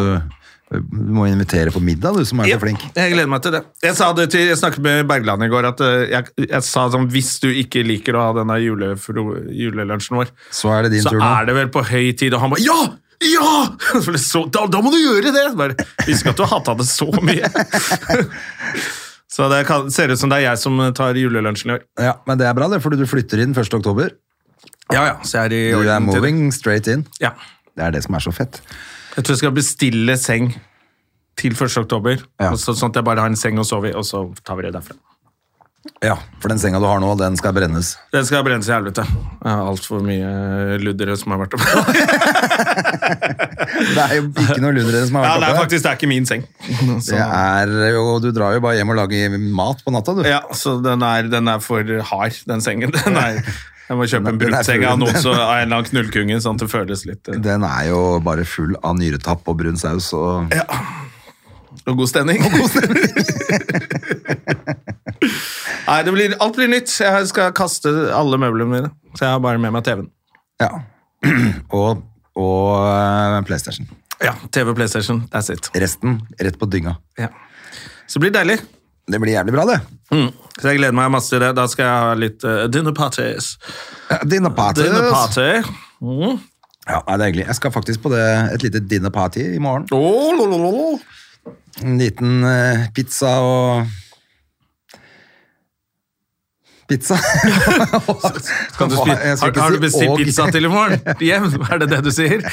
B: du må invitere på middag, du som er
A: Ja,
B: så flink.
A: Jeg gleder meg til det. Jeg, sa det til, jeg snakket med Bergland i går at eh, jeg, jeg sa sånn Hvis du ikke liker å ha denne julefro- julelunsjen vår,
B: Så er det din
A: så
B: tur nå.
A: er det vel på høy tid, og han bare Ja! Ja! Så ble det så, da, da må du gjøre det! Bare, Visste ikke at du hata det så mye. så det kan, ser ut som det er jeg som tar julelunsjen i år.
B: Ja, men det er bra det, fordi du flytter inn 1. oktober.
A: Ja, ja, så jeg er i
B: Du er
A: orden til det.
B: moving straight in.
A: Ja.
B: Det er det som er så fett.
A: Jeg tror jeg skal bestille seng til 1. oktober,
B: Ja.
A: og så, sånn at jeg bare har en seng å sove i, og så tar vi det derfra.
B: Ja, for den senga du har nå, den skal brennes.
A: Den skal brennes i helvete. Jeg har altfor mye luddere som har vært oppe.
B: Det er jo ikke noe ludere som
A: ja,
B: har
A: det er
B: vært oppe.
A: faktisk det er ikke min seng.
B: Det er jo, du drar jo bare hjem og lager mat på natta, du.
A: Ja, så den er, den er for hard, den sengen. Den er, jeg må kjøpe en
B: Den er- den er
A: brukt seng av
B: full.
A: noen som er en eller annen knullkunge, sånn at det føles litt eh,
B: Den er jo bare full av nyretapp og brun saus og
A: og god stemning. Nei, det blir, alt blir nytt. Jeg skal kaste alle møblene mine. Så jeg har bare med meg TV-en.
B: Ja. Og, og eh, PlayStation.
A: Ja, TV, PlayStation, that's it.
B: Resten rett på dynga.
A: Ja. Så det blir deilig.
B: Det blir jævlig bra, det.
A: Mm. Så jeg gleder meg masse til det. Da skal jeg ha litt eh, dinner parties.
B: Ja, Dinner parties.
A: Dinner party. Mm.
B: Ja, nei, det er hyggelig. Jeg skal faktisk på det, et lite dinner party i morgen.
A: Oh, lo, lo, lo, lo.
B: En liten eh, pizza og Pizza.
A: Kan du
B: Hva-
A: spise,
B: jeg skal
A: har,
B: ikke
A: har du
B: si
A: bestilt
B: og.
A: pizza til i morgen? Hjem, er det det du sier?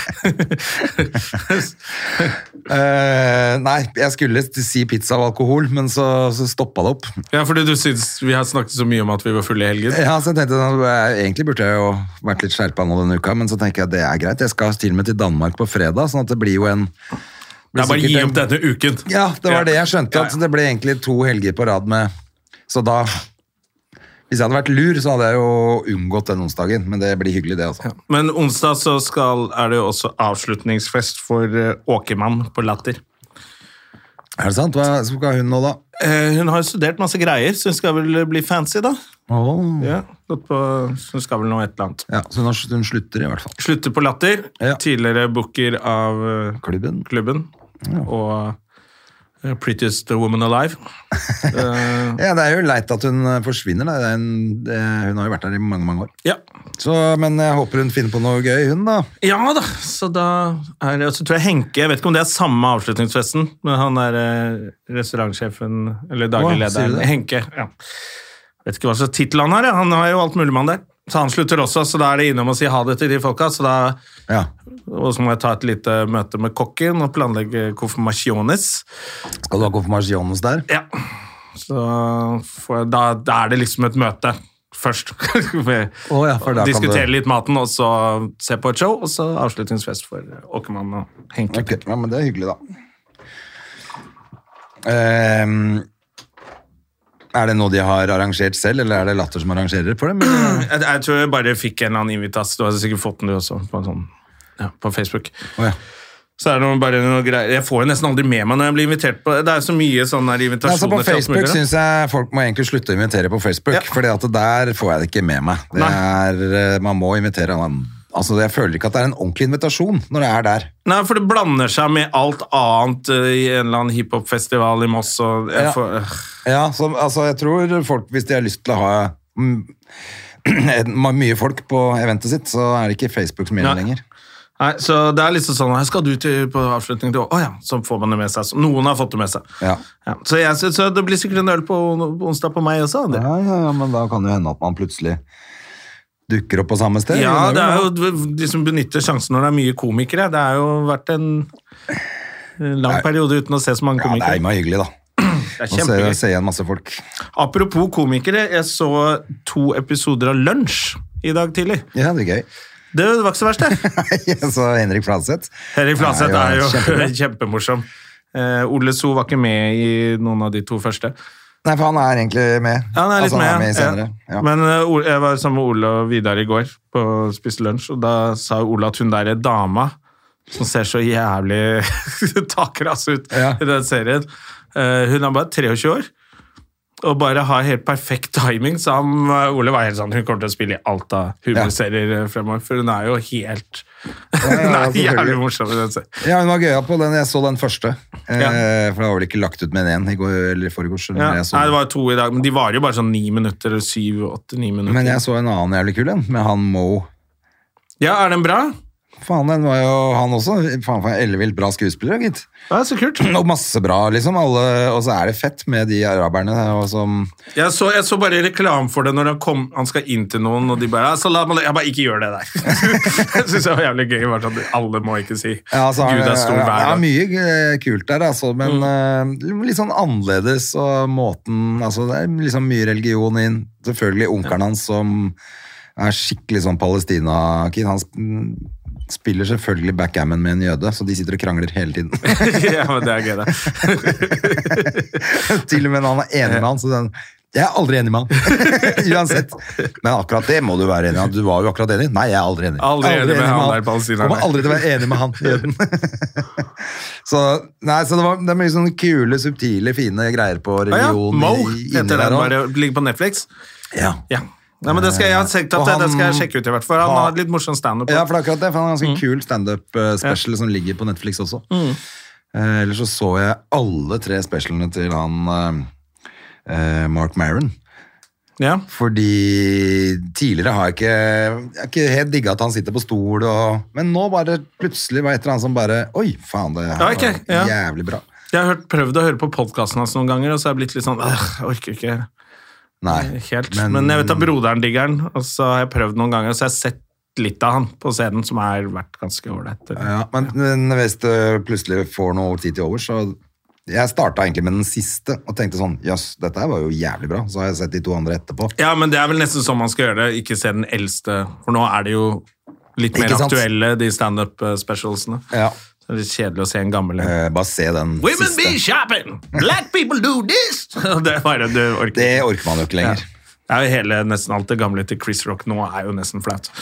B: Eh, nei, jeg skulle si pizza og alkohol, men så, så stoppa det opp.
A: ja, fordi du syns vi har snakket så mye om at vi var fulle i helgen.
B: Ja, så jeg tenkte at jeg- Egentlig burde jeg jo vært litt skjerpa nå denne uka, men så tenker jeg at det er greit. Jeg skal til og med til Danmark på fredag, sånn at det blir jo en
A: Det er bare
B: sikkert
A: gi
B: en-
A: opp denne uken.
B: Ja, det var det jeg skjønte, at
A: Ja,
B: det ble egentlig to helger på rad med Så da Hvis jeg hadde vært lur, så hadde jeg jo unngått den onsdagen, men det blir hyggelig, det, altså.
A: ja. Men onsdag så skal, er det jo også avslutningsfest for eh, Åkermann på Latter.
B: Er det sant? Hva skal hun nå, da?
A: Eh, hun har jo studert masse greier, så hun skal vel eh, bli fancy, da.
B: Åh.
A: Ja, gått på, så hun skal vel nå et eller annet.
B: Ja, så hun, har, hun slutter, i hvert fall.
A: Slutter på Latter.
B: Ja.
A: Tidligere booker av eh,
B: Klubben.
A: klubben. Og eh, Prettiest woman alive. Eh,
B: Ja, Det er jo leit at hun eh, forsvinner. Da. Det er en, eh, hun har jo vært der i mange mange år.
A: ja.
B: Så, men jeg håper hun finner på noe gøy, hun da.
A: ja da, så da er det og Så tror jeg Henke Jeg vet ikke om det er samme avslutningsfesten, men han er eh, restaurantsjefen eller daglig
B: Å, sier du
A: lederen.
B: det?
A: Henke. Ja. Vet ikke hva slags tittel han har. Ja. Han har jo alt mulig mann der. Så han slutter også, så da er det innom å si ha det til de folka. Så da,
B: Ja.
A: og så må jeg ta et lite møte med kokken og planlegge konfirmasjones.
B: Skal du ha konfirmasjones der?
A: Ja. Så får jeg, da, da er det liksom et møte først.
B: Å ja, for da kan
A: Diskutere
B: du-
A: litt maten, og så se på et show, og så avslutningsfest for Åkermann og Henke.
B: Ok, ja, men det er hyggelig, da. Ehm, er det noe de har arrangert selv, eller er det Latter som arrangerer for dem? eller?
A: Jeg, jeg tror jeg bare fikk en eller annen invitas. Du har sikkert fått den, du også, på, en sånn, ja, på Facebook.
B: Å ja.
A: Så er det noe, bare noe greier. Jeg får jo nesten aldri med meg når jeg blir invitert på Det er jo så mye sånne her
B: Ja, altså
A: invitasjoner.
B: på
A: til alt
B: Facebook
A: mulig, da.
B: syns jeg folk må egentlig slutte å invitere på Facebook,
A: Ja.
B: Fordi at der får jeg det ikke med meg. Det
A: Nei.
B: er, eh, man må invitere han. Altså, Jeg føler ikke at det er en ordentlig invitasjon når det er der.
A: Nei, for det blander seg med alt annet eh, i en eller annen hiphopfestival i Moss. Og jeg
B: Ja.
A: får, øh.
B: Ja, så, altså jeg tror folk, hvis de har lyst til å ha mm, en- ma- mye folk på eventet sitt, så er det ikke Facebook som gjelder
A: Nei.
B: lenger.
A: Nei, så det er liksom sånn Her skal du til, på avslutning til Å ja, så får man det med seg. Så noen har fått det med seg.
B: Ja.
A: Ja, så, jeg, synes- så det blir sikkert en øl på on- onsdag på meg også. Det.
B: Ja, ja, ja, men da kan det jo hende at man plutselig dukker opp på samme sted.
A: Ja, det er
B: vel-
A: jo de som benytter sjansen når det er mye komikere. Det har jo vært en en lang periode uten å se så mange
B: ja, det er
A: komikere.
B: jo hyggelig, da.
A: Det er
B: Å se, altså.
A: kjempegøy.
B: se igjen masse folk.
A: Apropos komikere, jeg så to episoder av Lunsj i dag tidlig.
B: Ja, det er gøy.
A: Det var ikke så verst, det.
B: Jeg så Henrik Fladseth.
A: Henrik Fladseth
B: Ja, ja,
A: er jo
B: kjempebra.
A: kjempemorsom. Eh, Ole So var ikke med i noen av de to første.
B: Nei, for han er egentlig med.
A: Ja, han er litt
B: altså,
A: med.
B: Han er med
A: ja.
B: senere. Ja.
A: Men eh, Ole- jeg var sammen med Ole og Vidar i går på spiste lunsj, og da sa jo Ole at hun der er dama som ser så jævlig takras ut
B: Ja.
A: i den serien. eh, hun er bare 23 år. Og bare har helt perfekt timing, så han, eh, Ole var helt sånn Hun kommer til å spille i alt av humorserier eh, fremover, for hun er jo helt Hun
B: ja,
A: er jævlig
B: selvfølgelig.
A: morsom i den serien.
B: Ja, hun var gøya på den. Jeg så den første. Eh,
A: Ja.
B: For det var vel ikke lagt ut med en i går eller i forgårs.
A: Ja.
B: men jeg så
A: Nei,
B: den.
A: det var to i dag, men de varer jo bare sånn ni minutter, eller syv, åtte, ni minutter.
B: Men jeg så en annen jævlig kul en, med han Moe.
A: Ja, er den bra?
B: Faen, den var jo han også. Faen, for en ellevilt bra skuespiller, gitt.
A: Ja, så kult.
B: Og masse bra, liksom. Alle, og så er det fett med de araberne og som
A: Jeg så, jeg så bare reklame for det når han, kom, han skal inn til noen, og de bare ja, så la meg, Jeg bare ikke gjør det der. jeg synes det var jævlig gøy. Bare sånn, alle må ikke si
B: Ja, altså,
A: Gud er stor Mm.
B: ja,
A: hver
B: ja,
A: dag.
B: mye eh, kult der, altså, men eh, litt sånn annerledes og måten altså, Det er liksom mye religion inn. Selvfølgelig onkelen hans som er skikkelig sånn Palestina-kid. Han sp- mm, spiller selvfølgelig backgammon med en jøde, så de sitter og krangler hele tiden.
A: ja, men det er gøy, det.
B: Til og med når han er enig med han, så den jeg er aldri enig med han. Uansett. Men akkurat det må du være enig med. Du var jo akkurat enig. Nei, jeg er aldri enig.
A: Aldri enig med han der palestineren.
B: Kommer aldri til å være enig med han jøden. så nei, så det, var, det er mye sånne kule, subtile, fine greier på
A: Ah, ja.
B: religion.
A: Mo
B: i- inni
A: heter
B: der
A: den
B: også.
A: bare. Ligger på Netflix.
B: Ja.
A: Ja. Nei, men det skal jeg, jeg har tenkt at
B: Og
A: det, det
B: han-
A: skal jeg sjekke ut, i hvert fall. Han har litt morsom standup.
B: ja, for det er akkurat det. For han har en
A: Mm.
B: ganske kul standup-special som ligger på Netflix også. Eh, ellers så så jeg alle tre specialene til han eh, eh, Mark Maron.
A: Ja.
B: Fordi tidligere har jeg ikke, jeg har ikke helt digga at han sitter på stol, og, men nå bare plutselig var det et eller annet som bare Oi, faen, det her
A: Ja, ok,
B: var
A: ja.
B: jævlig bra.
A: Jeg har hørt, prøvd å høre på podkasten hans noen ganger, og så har jeg blitt litt sånn «Åh, Jeg orker ikke
B: Nei,
A: helt. Men, jeg vet at broderen digger den, og så har jeg prøvd noen ganger, så jeg har sett litt av han på scenen, som har vært ganske ålreit.
B: ja, men, men hvis du plutselig får noe tid til over, så Jeg starta egentlig med den siste og tenkte sånn Jøss, dette her var jo jævlig bra. Så har jeg sett de to andre etterpå.
A: Ja, men det er vel nesten sånn man skal gjøre det. Ikke se den eldste, for nå er det jo litt mer
B: Ikke sant?
A: aktuelle, de standup eh, specialsene.
B: Ja.
A: Så det er litt kjedelig å se en gammel en.
B: Eh, bare se den
A: Women
B: siste.
A: be shopping! Black people do this! det er bare, du orker
B: Det
A: ikke.
B: orker man jo ikke
A: Ja.
B: lenger.
A: Det er jo hele, nesten alt det gamle til Chris Rock nå er jo nesten flaut.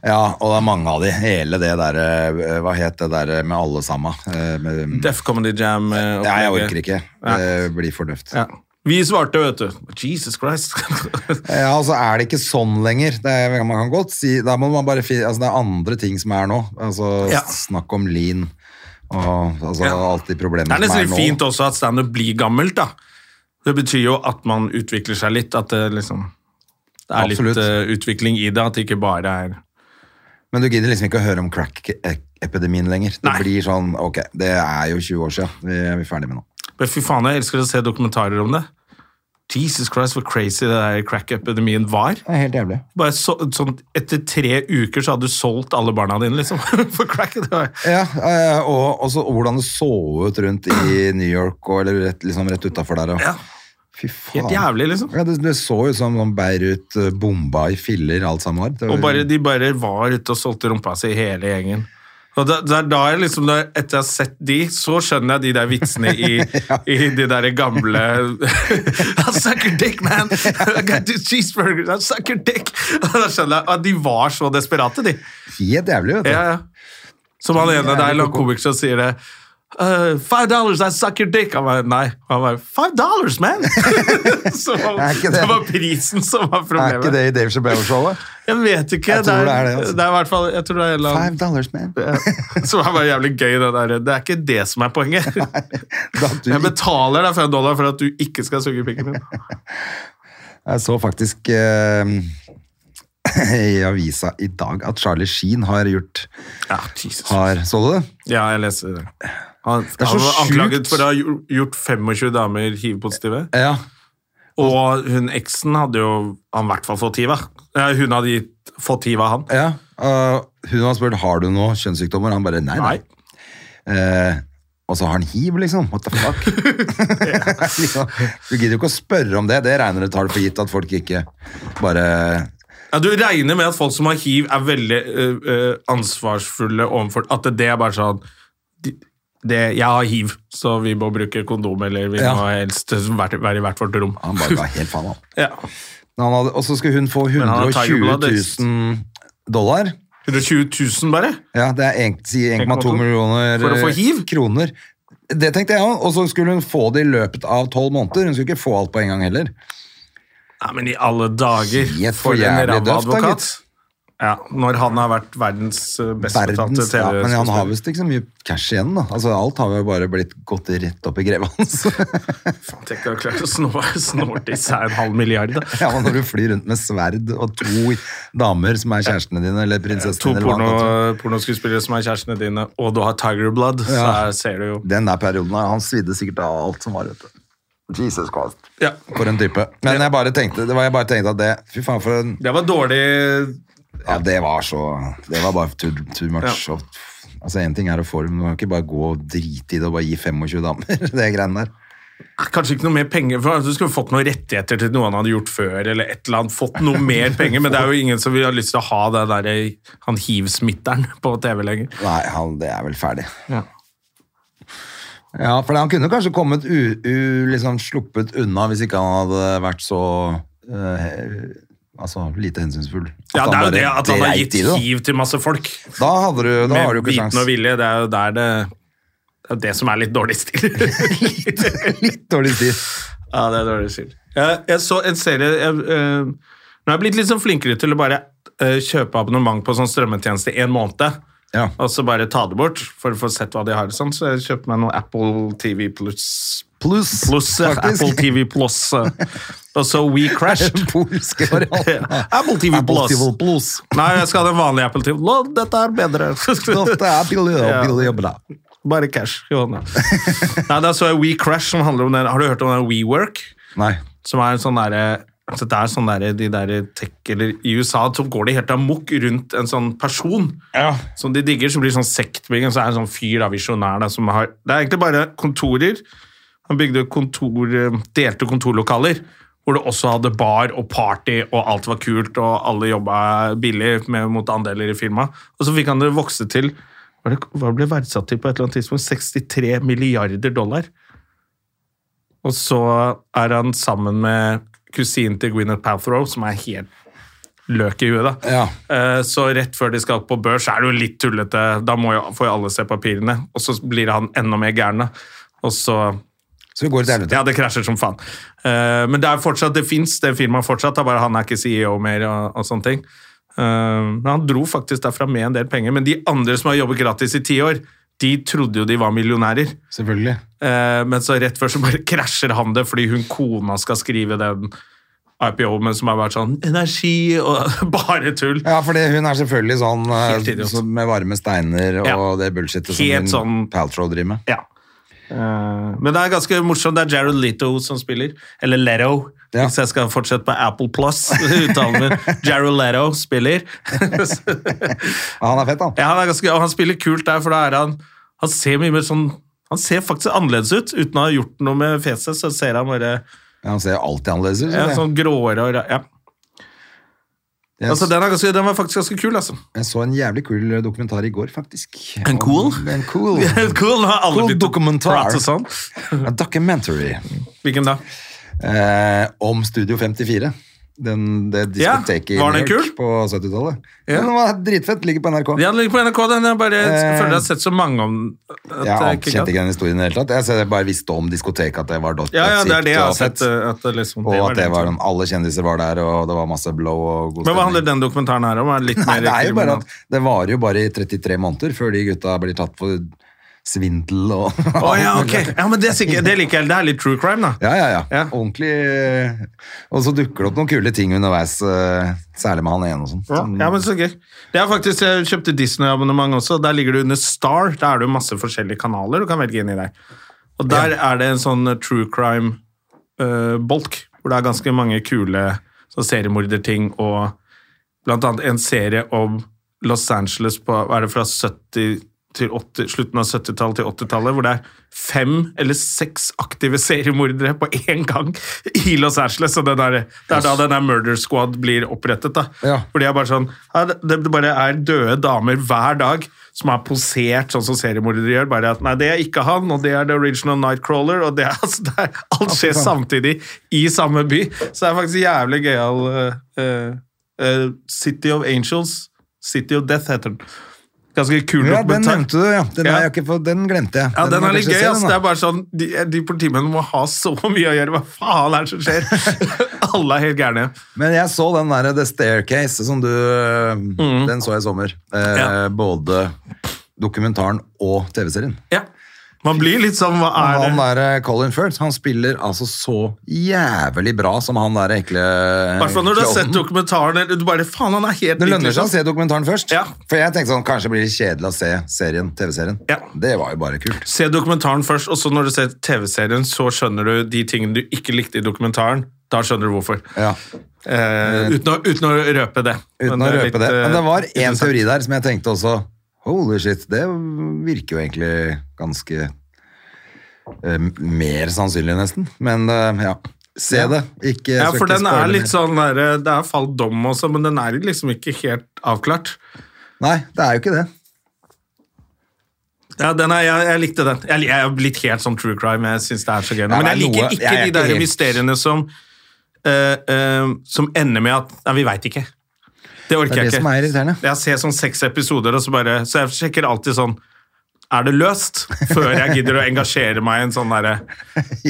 B: Ja, og det er mange av de. Hele det derre Hva het det derre med alle sammen? Eh, med-
A: Def Comedy Jam.
B: Nei,
A: eh,
B: jeg
A: opplegget.
B: orker ikke. Det blir for døvt.
A: Ja. Vi svarte, vet du. Jesus Christ.
B: Ja, altså er det ikke sånn lenger. Det er, man kan godt si, da må man bare fi- altså, Det er andre ting som er nå. Altså
A: Ja.
B: Snakk om lean Og altså,
A: Ja.
B: alt de problemene
A: Det
B: som
A: er nesten
B: er
A: litt
B: nå.
A: fint også at standup blir gammelt, da. Det betyr jo at man utvikler seg litt, at det liksom Det er
B: Absolutt.
A: litt eh, utvikling i det, at det ikke bare er
B: Men du gidder liksom ikke å høre om crack-epidemien lenger. Det
A: Nei.
B: blir sånn Ok, det er jo 20 år siden. Vi er vi ferdig med nå.
A: Men fy faen, jeg elsker å se dokumentarer om det. Jesus Christ, hvor crazy det der crack-epidemien var.
B: Det er helt jævlig.
A: Bare så, sånn, etter tre uker så hadde du solgt alle barna dine, liksom. For crack. Det var.
B: Ja, eh, og også hvordan det så ut rundt i New York, og, eller rett, liksom rett utafor der. Og.
A: Ja,
B: Fy faen.
A: helt jævlig, liksom.
B: Ja, det, det så ut som sånn Beirut eh, bomba i filler, alt sammen var. Det var-
A: Og bare, de bare var ute og solgte rumpa si, hele gjengen. Og da, det er da jeg liksom, da, Etter jeg har sett de, så skjønner jeg de der vitsene i, i de der gamle I suck your dick, man! I got two cheeseburgers! I suck your dick! Og da skjønner jeg at de var så desperate, de.
B: Helt jævlig, vet du.
A: Ja, ja. Som han ene der, en komiker som sier det. Uh, five dollars, I suck your dick. Han bare, nei. Han bare, five dollars, man! så var,
B: Er ikke det-
A: det var prisen som
B: Er
A: var
B: ikke
A: problemet.
B: det i Dave Chappelle-showet?
A: Jeg vet ikke.
B: Jeg tror det er det, altså.
A: det er i hvert fall, jeg tror det er en eller
B: Five
A: annen
B: dollars, man.
A: som er bare jævlig gøy, det der. Det er ikke det som er poenget.
B: Da du,
A: Jeg betaler deg fem dollar for at du ikke skal suge pikken min.
B: jeg så faktisk eh, i avisa i dag at Charlie Sheen har gjort
A: Ja, Jesus.
B: har, Så du det?
A: Ja, jeg leser det. Han,
B: er så
A: han var
B: sjukt.
A: anklaget for å ha gjort- gjort 25 damer hiv-positive.
B: Ja.
A: Og hun eksen hadde jo han i hvert fall fått hiv av. Eh, Hun hadde gitt, fått hiv av han.
B: ja. og hun har spurt har du noe kjønnssykdommer. Han bare nei. nei.
A: Nei.
B: Eh, og så har han hiv, liksom. What the fuck? liksom, du gidder jo ikke å spørre om det. Det regner du tar det for gitt at folk ikke bare
A: Ja, du regner med at folk som har hiv, er veldig eh, eh, ansvarsfulle overfor At det er bare sånn de- det, 'Jeg har hiv, så vi må bruke kondom', eller 'vi
B: Ja.
A: må helst være, være i hvert vårt rom'.
B: Han bare ga helt faen, han.
A: Ja.
B: Men han hadde- Og så skulle hun få
A: Men
B: 120
A: han har Tiger Blood, det-
B: 000 dollar.
A: 120 000, bare?
B: Ja, det er en- si 1,2
A: 1,2
B: millioner
A: For å få
B: eh,
A: hiv?
B: kroner. Det tenkte jeg òg. Og så skulle hun få det i løpet av tolv måneder. Hun skulle ikke få alt på en gang heller.
A: Nei, men i alle dager!
B: Helt for
A: For en
B: jævlig
A: ræva
B: døft, da,
A: advokat.
B: gitt.
A: Ja, når han har vært verdens eh, best betalte
B: Verdens, ja, men han har
A: TV-skuespiller.
B: visst ikke så mye cash igjen, da. Altså, alt har jo bare blitt gått rett opp i grevet hans.
A: Faen, Tenk å ha klart å snor- snorte i seg en halv milliard, da.
B: Ja, men når du flyr rundt med sverd og to damer som er kjærestene dine, eller
A: To
B: prinsessene dine eller hva
A: porno,
B: det er. altså.
A: pornoskuespillere som er kjærestene dine, og du har Tiger Blood, så
B: Ja.
A: her ser du jo
B: Den der perioden, her, han svidde sikkert av alt som var, vet du. Jesus Christ.
A: ja.
B: For en type. Men jeg bare tenkte, det var jeg bare tenkte at det, fy faen for en,
A: Det var dårlig
B: ja, det var så, det var bare too, too much. Og, altså, en ting er å få det, men du kan ikke bare gå og drite i det og bare gi 25 damer, det greiene der.
A: Kanskje ikke noe mer penger, for du skulle fått noen rettigheter til noe han hadde gjort før, eller et eller annet, fått noe mer penger, men det er jo ingen som vil ha lyst til å ha det der, han hiv-smitteren på TV lenger.
B: Nei, han, det er vel ferdig.
A: Ja.
B: Ja, for han kunne kanskje kommet u, u, liksom sluppet unna hvis ikke han hadde vært så eh, altså, lite hensynsfull. At
A: det er jo
B: bare
A: det at han har
B: dreit
A: gitt
B: i det, da.
A: hiv til masse folk,
B: Da, hadde du, da har
A: med
B: du ikke
A: viten og
B: sjans.
A: vilje, det er jo der det det er det som er litt dårlig stil.
B: Litt dårlig tid.
A: Ja, det er dårlig stil. Jeg, jeg så en serie jeg, eh, Nå har jeg blitt litt sånn flinkere til å bare eh, kjøpe abonnement på sånn strømmetjeneste i en måned.
B: Ja.
A: Og så bare ta det bort for å få sett hva de har. og Sånn. Så jeg kjøpte meg noe Apple TV pluss
B: Pluss,
A: Pluss, eh, Apple TV pluss. eh. Og så We Crashed.
B: Den polske varianten.
A: Ja. Apple TV Plus.
B: Apple TV Plus.
A: Nei, jeg skal ha den vanlige Apple TV. Lå, dette er bedre.
B: Dette er billig og
A: Ja.
B: billig og bra.
A: Bare cash i hånda. Nei, da så jeg We Crash, som handler om den. Har du hørt om den WeWork?
B: Nei.
A: som er en sånn derre så det er sånn der, de der tech, eller I USA så går de helt amok rundt en sånn person som de digger, som blir sånn sektbygging. Så er det en sånn fyr, da, visjonær, da, som har Det er egentlig bare kontorer. Han bygde kontor, eh, delte kontorlokaler hvor det også hadde bar og party, og alt var kult, og alle jobba billig med, mot andeler i firmaet. Og så fikk han det vokse til hva det- Hva ble verdsatt til på et eller annet tidspunkt? 63 milliarder dollar. Og så er han sammen med kusinen til Gwyneth Palthrow, som er helt løk i huet, da.
B: Ja.
A: Eh, Så rett før de skal på børs, er det jo litt tullete. Da må jo, får jo alle se papirene, og så blir han enda mer gæren. da. Og så
B: Så vi går til helvete.
A: Ja, det krasjer som faen. Eh, Men det er fortsatt, det fins det firmaet fortsatt, det er bare han er ikke CEO mer og, og sånne ting. Eh, Men han dro faktisk derfra med en del penger, men de andre som har jobbet gratis i ti år, de trodde jo de var millionærer.
B: Selvfølgelig.
A: Eh, men så rett før så bare krasjer han det fordi hun kona skal skrive den IPO, men som har vært sånn energi og bare tull.
B: Ja, fordi hun er selvfølgelig sånn eh,
A: Helt idiot.
B: som- med varme steiner og
A: Ja.
B: det bullshitet
A: Helt
B: som hun
A: sånn-
B: Paltrow driver med.
A: Ja. Eh, men det er ganske morsomt. Det er Jared Leto som spiller. Eller Leto,
B: Ja.
A: hvis jeg skal fortsette på Apple Plus. uttalen min. Jared Leto spiller.
B: Ja, han er fett, han.
A: ja, han, er ganske, og han spiller kult der, for da er han Han ser mye mer sånn Han ser faktisk annerledes ut. Uten å ha gjort noe med fjeset, så ser han bare
B: Ja, Han ser alltid annerledes ut. synes
A: ja,
B: jeg.
A: sånn gråere og ra- ja.
B: Jeg
A: altså, den, er ganske, den var faktisk ganske kul, altså.
B: Jeg så en jævlig kul eh, dokumentar i går, faktisk.
A: En cool?
B: Om- En cool.
A: cool, nå har alle
B: Cool
A: begynt å
B: dokumentar.
A: prate sånn.
B: A documentary
A: Hvilken da?
B: eh, om Studio 54. Den, det
A: Ja,
B: diskoteket
A: var
B: i
A: den
B: New York
A: kul?
B: på 70-tallet.
A: Ja.
B: Den var dritfett, ligger på NRK.
A: Ja, Den ligger på NRK. Den jeg bare jeg
B: Eh,
A: føler jeg har sett så mange om at eh,
B: Jeg
A: jeg
B: ante-
A: ikke
B: kjente
A: kan.
B: ikke den historien i det hele tatt. Jeg ser- bare visste om diskoteket, at det var dot
A: Ja, ja, det er det jeg har
B: og fett.
A: sett. eh, At det liksom,
B: Og at det
A: den
B: var
A: turen.
B: den, alle kjendiser var der, og det var masse blow og god
A: Men hva handler den dokumentaren her om? Er det litt
B: Nei,
A: mer
B: det er jo bare
A: kriminal?
B: at det varer jo bare i 33 måneder før de gutta blir tatt for svindel og
A: Å ja, ok. Ja, men det, er sikkert, det liker jeg. Det er litt true crime, da.
B: Ja, ja, ja.
A: Ja.
B: Ordentlig eh, Og så dukker det opp noen kule ting underveis, eh, særlig med han ene og sånn.
A: Ja,
B: Sånn-
A: men så gøy. Det er faktisk, Jeg kjøpte Disney-abonnement også. Der ligger det under Star. Der er det jo masse forskjellige kanaler du kan velge inn i der. Og der er det en sånn true crime-bolk, hvor det er ganske mange kule sånn seriemorderting og blant annet en serie om Los Angeles på hva er det fra 70 til 80, slutten av 70-tallet til 80-tallet, hvor det er fem eller seks aktive seriemordere på én gang i Los Angeles. Og den er, det er da den der Murder Squad blir opprettet. da.
B: Ja.
A: Hvor de er bare sånn ja, det- Det bare er døde damer hver dag som er posert sånn som seriemordere gjør. Bare at nei, det er ikke han, og det er the original Nightcrawler, og det er, altså, det er Alt skjer samtidig i samme by. Så det er faktisk jævlig gøyal eh, eh, eh, City of Angels. City of Death heter den. Ganske kul
B: ja, den
A: dokumentar.
B: nevnte du, ja. Den,
A: Ja.
B: har jeg ikke fått, den glemte jeg.
A: Ja, den
B: må
A: er litt
B: kanskje
A: gøy.
B: se,
A: ass.
B: den,
A: Det
B: da.
A: er bare sånn, De, de politimennene må ha så mye å gjøre. Hva faen er det som skjer? Alle er helt gærne.
B: Men jeg så den der The Staircase som du Den så jeg i sommer. Eh,
A: Mm. Ja.
B: Både dokumentaren og TV-serien.
A: Ja. Man blir litt sånn Hva er
B: Han
A: det?
B: der eh, Colin Firth, han spiller altså så jævlig bra som han der ekle eh,
A: I hvert fall når du har
B: klovnen.
A: sett dokumentaren. eller Du bare, faen, han er helt
B: Det lønner seg å
A: utløst.
B: se dokumentaren først.
A: Ja.
B: For jeg tenkte sånn, kanskje blir det kjedelig å se serien, TV-serien.
A: Ja.
B: Det var jo bare kult.
A: Se dokumentaren først, og så når du ser TV-serien, så skjønner du de tingene du ikke likte i dokumentaren. Da skjønner du hvorfor.
B: Ja,
A: Eh, uten, å, uten å røpe det.
B: uten å
A: Men det er
B: røpe
A: litt,
B: det. Men det
A: eh,
B: var én
A: interessant.
B: teori der som jeg tenkte også, holy shit, det virker jo egentlig ganske eh, mer sannsynlig nesten. Men eh, ja, se det. Ikke
A: Ja,
B: søk
A: for
B: til
A: den er
B: spoiler.
A: litt sånn der, Det er falt dom også, men den er liksom ikke helt avklart.
B: Nei, det er jo ikke det.
A: Ja, den er, jeg, jeg likte den. Jeg, jeg er blitt helt sånn true crime. Jeg synes det er så gøy. nå.
B: Ja,
A: Men
B: det er
A: jeg liker
B: noe-
A: ikke
B: jeg er
A: de
B: ikke
A: der
B: helt-
A: mysteriene som eh, eh, Som ender med at Nei, vi veit ikke. Det
B: Det
A: orker
B: er
A: jeg
B: det som
A: ikke.
B: er irriterende.
A: Jeg ser sånn seks episoder, og så bare Så jeg sjekker alltid sånn Er det løst? Før jeg gidder å engasjere meg i en sånn derre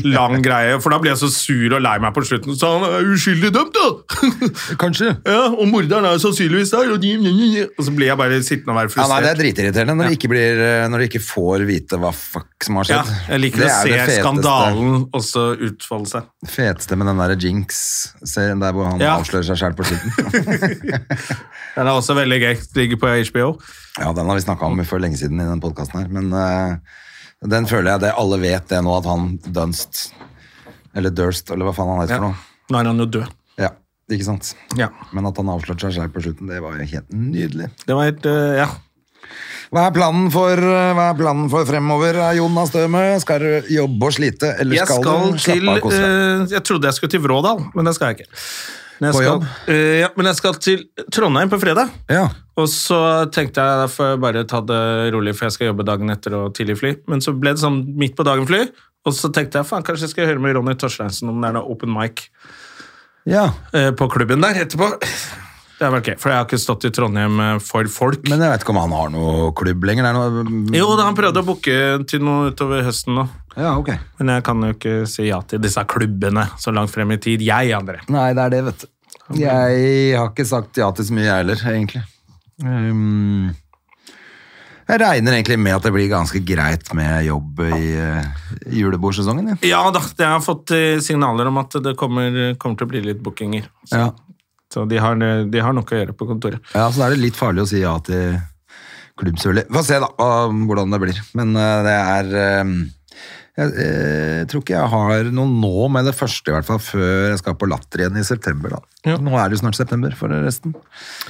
A: lang greie. For da blir jeg så sur og lei meg på slutten. Så han er uskyldig dømt, da!
B: Kanskje.
A: ja, og morderen er sannsynligvis der, og de Og så blir jeg bare sittende og være
B: Ja, nei,
A: frustrert.
B: det er dritirriterende når, du ikke blir, eh, når du ikke får vite hva fuck som har
A: Ja,
B: skjedd.
A: jeg liker
B: Det
A: å
B: er jo det
A: se
B: feteste.
A: skandalen også utfolde seg.
B: feteste med den der Jinx-serien der hvor han
A: Ja.
B: avslører seg sjøl på slutten.
A: Den er også veldig gøy. Ligger på HBO.
B: Ja, den har vi snakka
A: Mm.
B: om for lenge siden i den podkasten her, men eh, den føler jeg det alle vet det nå, at han Dunst Eller Durst, eller hva faen han heter for noe.
A: Nå er han jo død.
B: Ja, ikke sant?
A: Ja.
B: Men at han avslørte seg sjøl på slutten, det var jo helt nydelig.
A: Det var helt eh, Ja.
B: Hva er planen for, eh, hva er planen for fremover, eh, Jonas Døme? Skal du jobbe og slite, eller
A: Jeg
B: skal,
A: skal
B: du slappe
A: til
B: av og kose deg?
A: eh, Jeg trodde jeg skulle til Vrådal, men det skal jeg ikke. Men jeg
B: På
A: skal,
B: jobb?
A: eh, ja, men jeg skal til Trondheim på fredag.
B: Ja.
A: Og så tenkte jeg da får jeg bare ta det rolig, for jeg skal jobbe dagen etter og tidlig fly. Men så ble det sånn midt på dagen fly, og så tenkte jeg faen, kanskje jeg skal høre med Ronny Torsteinsen om det er noe open mic
B: ja.
A: eh, på klubben der etterpå. Det er vel ok, For jeg har ikke stått i Trondheim eh, for folk.
B: Men jeg vet ikke om han har noe klubb lenger? Det er noe...
A: jo, da han prøvde å booke til noe utover høsten nå.
B: Ja, ok.
A: Men jeg kan jo ikke si ja til disse klubbene så langt frem i tid. Jeg, André.
B: Nei, det er det, vet du. Jeg har ikke sagt ja til så mye, jeg heller, egentlig. Um, Ehm, Jeg regner egentlig med at det blir ganske greit med jobb i eh, julebordsesongen. Ja.
A: Ja da, jeg har fått eh, signaler om at det kommer, kommer til å bli litt bookinger. Så,
B: Ja.
A: så de, har, eh, de har nok å gjøre på kontoret.
B: ja, så da er det litt farlig å si ja til klubbsøler. Få se da hva- hvordan det blir. Men eh, det er eh, jeg, eh, tror ikke jeg har noe nå med det første, i hvert fall før jeg skal på Latter igjen i september. da.
A: Ja.
B: Nå er det jo snart september for resten.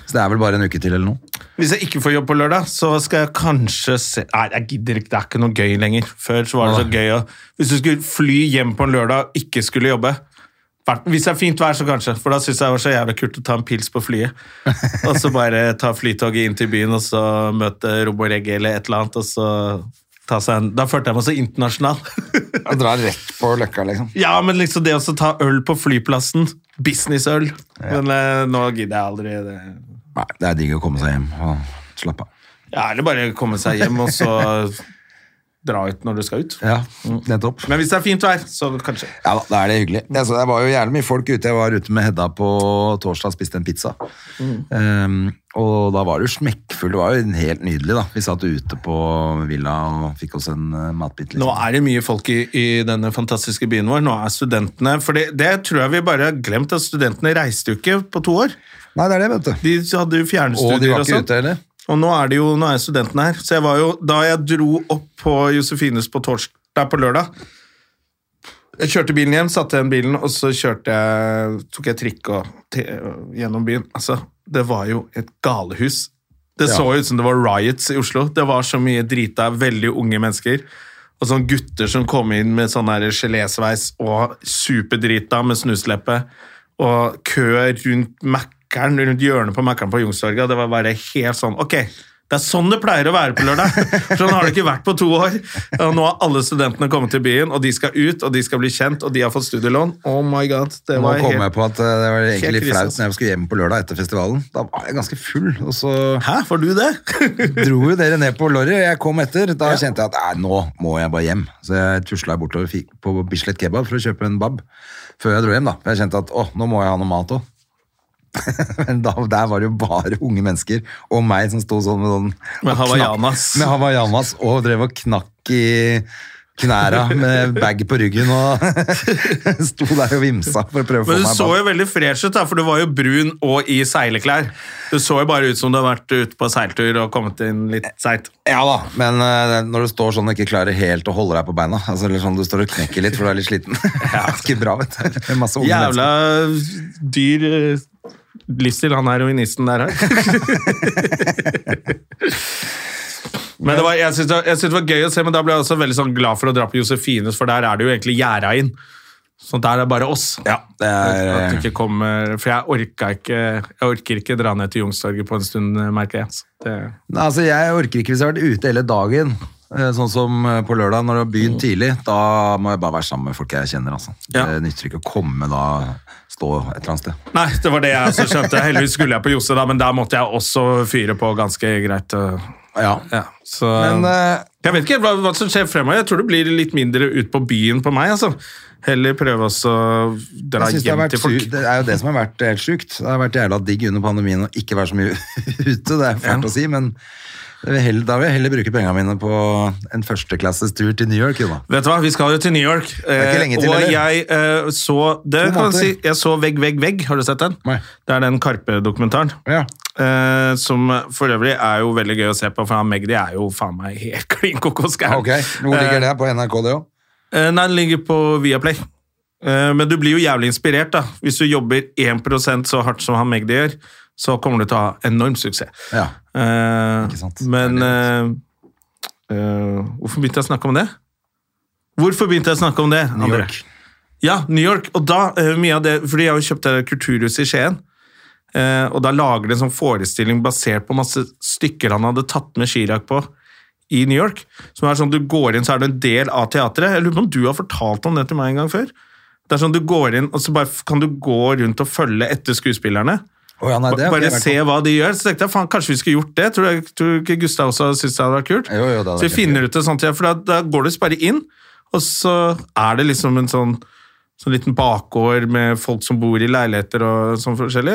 B: Så det er vel bare en uke til eller noe.
A: Hvis jeg ikke får jobb på lørdag, så skal jeg kanskje se Nei, jeg gidder ikke, det er ikke noe gøy lenger. Før så var det så gøy å Hvis du skulle fly hjem på en lørdag og ikke skulle jobbe hvert- Hvis det er fint vær, så kanskje, for da syns jeg det var så jævlig kult å ta en pils på flyet. Og så bare ta flytoget inn til byen, og så møte Roboregge eller et eller annet, og så ta seg en Da følte jeg meg så internasjonal.
B: Jeg drar rett på løkka, liksom.
A: Ja, men liksom det å så ta øl på flyplassen. Businessøl. Men eh, nå gidder jeg aldri det.
B: Nei, det er digg å komme seg hjem og slappe av.
A: Ja, eller bare komme seg hjem og så dra ut når du skal ut.
B: Ja, nettopp.
A: Men hvis det er fint vær, så kanskje.
B: Ja da, da er det hyggelig. Jeg så det var jo jævlig mye folk ute. Jeg var ute med Hedda på torsdag og spiste en pizza.
A: Mm.
B: Ehm, og da var det jo smekkfull. Det var jo helt nydelig, da. Vi satt ute på villa og fikk oss en eh, matbit.
A: Nå
B: Liksom.
A: er det mye folk i, i denne fantastiske byen vår. Nå er studentene For det, det tror jeg vi bare har glemt, at studentene reiste jo ikke på to år.
B: Nei, det er det, vet du.
A: De hadde jo
B: Og de
A: fjernstudier
B: var
A: og,
B: ikke
A: sånn.
B: ute heller.
A: Og nå er det jo, nå er studentene her. Så jeg var jo, da jeg dro opp på Josefines på torsdag på lørdag, jeg kjørte bilen hjem, satte igjen bilen, og så kjørte jeg, tok jeg trikk og, te- gjennom byen. Altså, det var jo et galehus. Det så ut som det var riots i Oslo. Det var så mye drita, veldig unge mennesker. Og sånne gutter som kom inn med sånn her gelésveis og superdrita med snusleppe. Og køer rundt Mækkern, rundt hjørnet på Mækkern på Youngstorget. Det var bare helt sånn Ok, det er sånn det pleier å være på lørdag! Sånn har det ikke vært på to år. Og nå har alle studentene kommet til byen, og de skal ut, og de skal bli kjent, og de har fått studielån. Oh my god, det
B: Nå
A: var
B: kom
A: helt
B: jeg på at eh, det var egentlig litt
A: krise,
B: flaut
A: altså.
B: når jeg skulle hjem på lørdag etter festivalen. Da var jeg ganske full, og så
A: Hæ, var du det?
B: dro jo dere ned på lorry, og jeg kom etter. Da kjente jeg at nei, nå må jeg bare hjem. Så jeg tusla bortover fi- på Bislett Kebab for å kjøpe en bab før jeg dro hjem. da. For jeg kjente at å, nå må jeg ha noe mat òg. Men da, der var det jo bare unge mennesker og meg som sto sånn med sånn og
A: Med hawaiianas.
B: knakk- Med hawaiianas og drev og knakk i knæra med bag på ryggen og sto der og vimsa for å prøve å få
A: Men
B: meg
A: du så
B: bab.
A: jo veldig fresh ut, da, for du var jo brun og i seileklær. Du så jo bare ut som du har vært ute på seiltur og kommet inn litt seigt.
B: Ja da, men eh, når du står sånn og ikke klarer helt å holde deg på beina, altså, eller sånn du står og knekker litt for du er litt sliten, det er ikke bra, vet du. Det er masse unge
A: Jævla dyr eh, livsstil han heroinisten der har. Men det var, jeg syns det, var- jeg synes det var gøy å se, men da ble jeg også veldig sånn glad for å dra på Josefines, for der er det jo egentlig gjerda inn. Så der er bare oss.
B: mennesker. Det
A: At
B: er,
A: du
B: eh,
A: ikke kommer, for jeg orker ikke, jeg orker ikke dra ned til Youngstorget på en stund, eh, merker jeg. Så Det,
B: Nei, altså, jeg orker ikke hvis jeg har vært ute hele dagen, eh, sånn som eh, på lørdag når det har begynt tidlig, da må jeg bare være sammen med folk jeg kjenner, altså.
A: Ja.
B: Det nytter ikke å komme da, stå et eller annet sted.
A: Nei, det var det jeg også skjønte. Heldigvis skulle jeg på Josse, da, men der måtte jeg også fyre på ganske greit. øh,
B: Ja.
A: Ja, så
B: Men eh,
A: Jeg vet ikke hva, hva som skjer fremover. Jeg tror det blir litt mindre ut på byen på meg. altså. Heller prøve også å dra
B: jeg synes det, har
A: hjem
B: vært
A: til folk.
B: sykt- det er jo det som har vært helt sjukt. Det har vært jævla digg under pandemien å ikke være så mye ute, det er fælt å si, men det vil heller, da vil jeg heller bruke pengene mine på en førsteklasses tur til New York, jo da.
A: Vet du hva, vi skal jo til New York.
B: er ikke lenge til,
A: og
B: eller?
A: jeg eh, så det
B: To
A: kan jeg si,
B: måneder.
A: jeg så Vegg, vegg, vegg. Har du sett den?
B: Nei.
A: Det er den Karpe-dokumentaren.
B: Ja.
A: Eh, som for øvrig er jo veldig gøy å se på, for han Magdi er jo faen meg helt klin kokos gæren.
B: Ok, hvor ligger det? På NRK det òg?
A: Eh, Nei, den ligger på Viaplay. Eh, Men du blir jo jævlig inspirert, da. Hvis du jobber 1 så hardt som han Magdi gjør, så kommer du til å ha enorm suksess.
B: Ja.
A: Eh,
B: Ikke sant.
A: Men eh, eh, Hvorfor begynte jeg å snakke om det? Hvorfor begynte jeg å snakke om det?
B: New
A: André?
B: York.
A: Ja, New York. Og da, eh, mye av det, fordi jeg har jo kjøpt det der kulturhuset i Skien, eh, og da lager de en sånn forestilling basert på masse stykker han hadde tatt med Chirac på i New York. Som er sånn, du går inn, så er du en del av teatret. Jeg lurer på om du har fortalt om det til meg en gang før? Det er sånn, du går inn, og så bare f- kan du gå rundt og følge etter skuespillerne.
B: Å ja, nei, det har ikke
A: bare
B: jeg vært
A: se
B: på.
A: hva de gjør. Så tenkte jeg, faen, kanskje vi skulle gjort det? Tror du, tror du ikke Gustav også syntes det hadde vært kult?
B: Jo, jo, det hadde
A: så vi
B: vært
A: finner ut det sånn, for da, da går du bare inn, og så er det liksom en sånn, sånn liten bakgård med folk som bor i leiligheter og sånn forskjellig.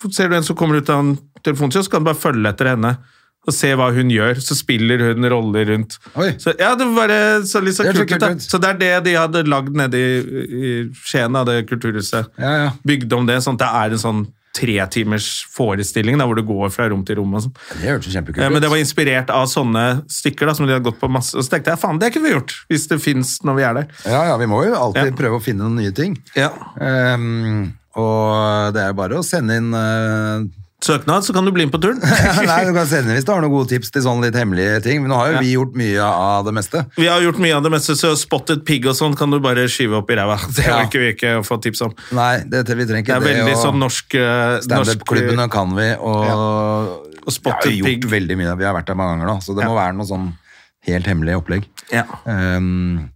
A: Så Ser du en som kommer ut av en telefonkiosk, kan du bare følge etter henne. og se hva hun gjør. Så spiller hun roller rundt.
B: Oi.
A: Så, ja, det var bare så litt så
B: Det er så
A: kult ut, da.
B: kult ut.
A: Så det er det de hadde lagd nede i, i Skien, da, det kulturhuset.
B: Ja, ja.
A: Bygd om det, sånn at det er en sånn tretimers forestilling da, hvor du går fra rom til rom og sånn.
B: Det hørtes kjempekult
A: Eh,
B: ut.
A: Men det var inspirert av sånne stykker da, som de hadde gått på masse. Og så tenkte jeg, faen, det kunne vi gjort, hvis det finnes når vi er der.
B: Ja, ja, vi må jo alltid
A: Ja.
B: prøve å finne noen nye ting. Ehm, og det er jo bare å sende inn eh,
A: Søknad, så kan du bli med på turen.
B: Nei, du kan sende inn hvis du har noen gode tips til sånne litt hemmelige ting. Men nå har jo vi gjort mye av det meste.
A: Vi har gjort mye av det meste, så spotted pig og sånn kan du bare skyve opp i ræva. Det
B: Ja.
A: vil ikke vi ikke få tips om.
B: Nei, dette, vi trenger
A: Det
B: ikke
A: er
B: det.
A: veldig
B: og
A: sånn norsk, eh, norsk
B: Standup-klubbene kan vi, og,
A: Og spotted
B: Vi har jo gjort
A: pig.
B: veldig mye. Vi har vært der mange ganger nå, så det må være noe sånn helt hemmelig opplegg.
A: Ja.
B: Ehm,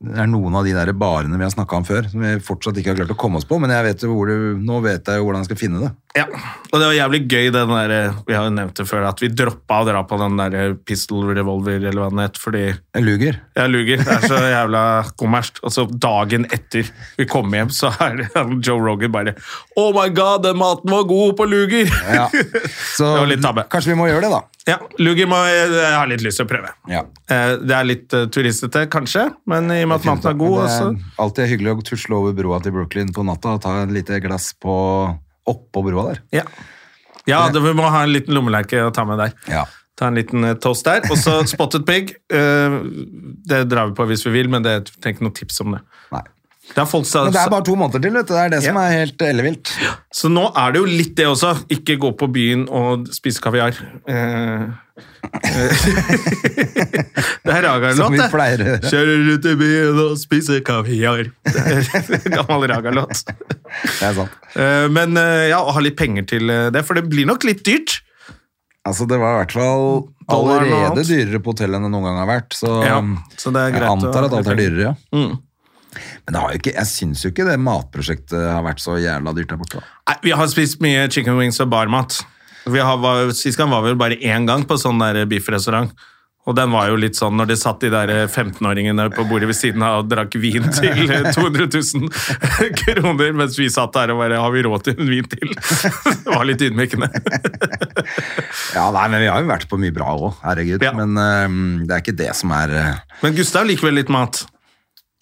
B: det er noen av de der barene vi har snakka om før, som vi fortsatt ikke har klart å komme oss på, men jeg vet jo hvor du, nå vet jeg jo hvordan jeg skal finne det.
A: Ja. Og det var jævlig gøy, den der, eh, vi har jo nevnt det før, at vi droppa å dra på den der eh, pistol revolver eller hva den het, fordi
B: Jeg luger.
A: jeg luger. Det er så jævla kommersielt. Og så dagen etter vi kom hjem, så er det han Joe Rogan bare Oh my god, den maten var god på luger!
B: Ja. Så
A: Det var litt tabbe.
B: kanskje vi må gjøre det, da.
A: Ja, Luger må jeg, jeg har litt lyst til å prøve.
B: Ja.
A: Eh, Det er litt eh, turistete, kanskje, men i og med at maten er god altså.
B: Men
A: også.
B: Det er alltid hyggelig å tusle over broa til Brooklyn på natta og ta et lite glass på oppå broa der.
A: Ja, ja det, vi må ha en liten lommelerke å ta med der.
B: Ja.
A: Ta en liten eh, toast der. Og så Spotted Pig. eh, Det drar vi på hvis vi vil, men det jeg trenger ikke noe tips om det.
B: Nei.
A: Det er folk som-
B: Men det er bare to måneder til, vet du. Det er det som
A: Altså- Ja.
B: er helt eh, ellevilt.
A: Så nå er det jo litt det også. Ikke gå på byen og spise kaviar. Eh, eh, det
B: Som
A: er Raga-låt,
B: vi
A: det.
B: pleier å gjøre.
A: Kjører ut i byen og spiser kaviar. Det er en Gammel Raga-låt.
B: Det er sant.
A: Eh, men eh, ja, å ha litt penger til eh, det, for det blir nok litt dyrt.
B: Altså, det var i hvert fall
A: Dollar og
B: allerede
A: alt.
B: dyrere på hotellet enn det noen gang har vært. Så,
A: Ja, så det er greit
B: jeg antar
A: å- Mm.
B: at alt er dyrere, ja. Men det har jo ikke, jeg syns jo ikke det matprosjektet har vært så jævla dyrt der borte. da.
A: Nei, vi har spist mye chicken wings og barmat. Vi har, var, sist gang var vi bare én gang på sånn der biffrestaurant. Og den var jo litt sånn når det satt de der 15-åringene på bordet ved siden av og drakk vin til eh, 200 000 kroner, mens vi satt der og bare Har vi råd til en vin til? Det var litt ydmykende.
B: Ja, nei, men vi har jo vært på mye bra òg, herregud.
A: Ja.
B: Men øhm, det er ikke det som er øh,
A: Men Gustav liker vel litt mat.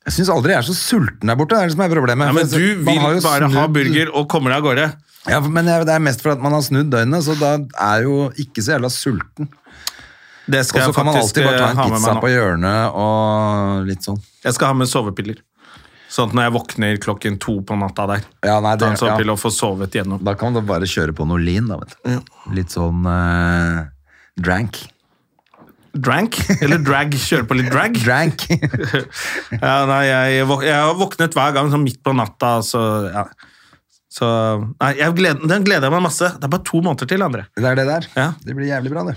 B: Jeg syns aldri jeg er så sulten der borte, det er det som er problemet.
A: Ja, men
B: For
A: du
B: man har
A: vil
B: jo
A: bare ha
B: snudd-
A: burger og kommer deg av gårde.
B: Ja, men jeg- det er mest fordi man har snudd døgnet, så da er jo ikke så jævla sulten.
A: Det
B: Og
A: skal
B: så
A: jeg
B: kan man
A: faktisk
B: alltid bare ta
A: eh, ha
B: en
A: med
B: pizza
A: meg
B: på
A: nå.
B: hjørnet og litt sånn.
A: Jeg skal ha med sovepiller. Sånn at når jeg våkner klokken to på natta der,
B: Ja, nei,
A: ta en
B: det- ja.
A: sovepille og få sovet gjennom.
B: Da kan man da bare kjøre på noe lean, da, vet du. Litt sånn eh, drank.
A: Drank? Eller drag? Kjøre på litt drag?
B: Drank!
A: Ja, nei, jeg, våk- jeg har våknet hver gang sånn midt på natta, så ja. Så Nei, jeg gleder, den gleder jeg meg masse. Det er bare to måneder til, André.
B: det er det der.
A: Ja.
B: Det blir jævlig bra, det.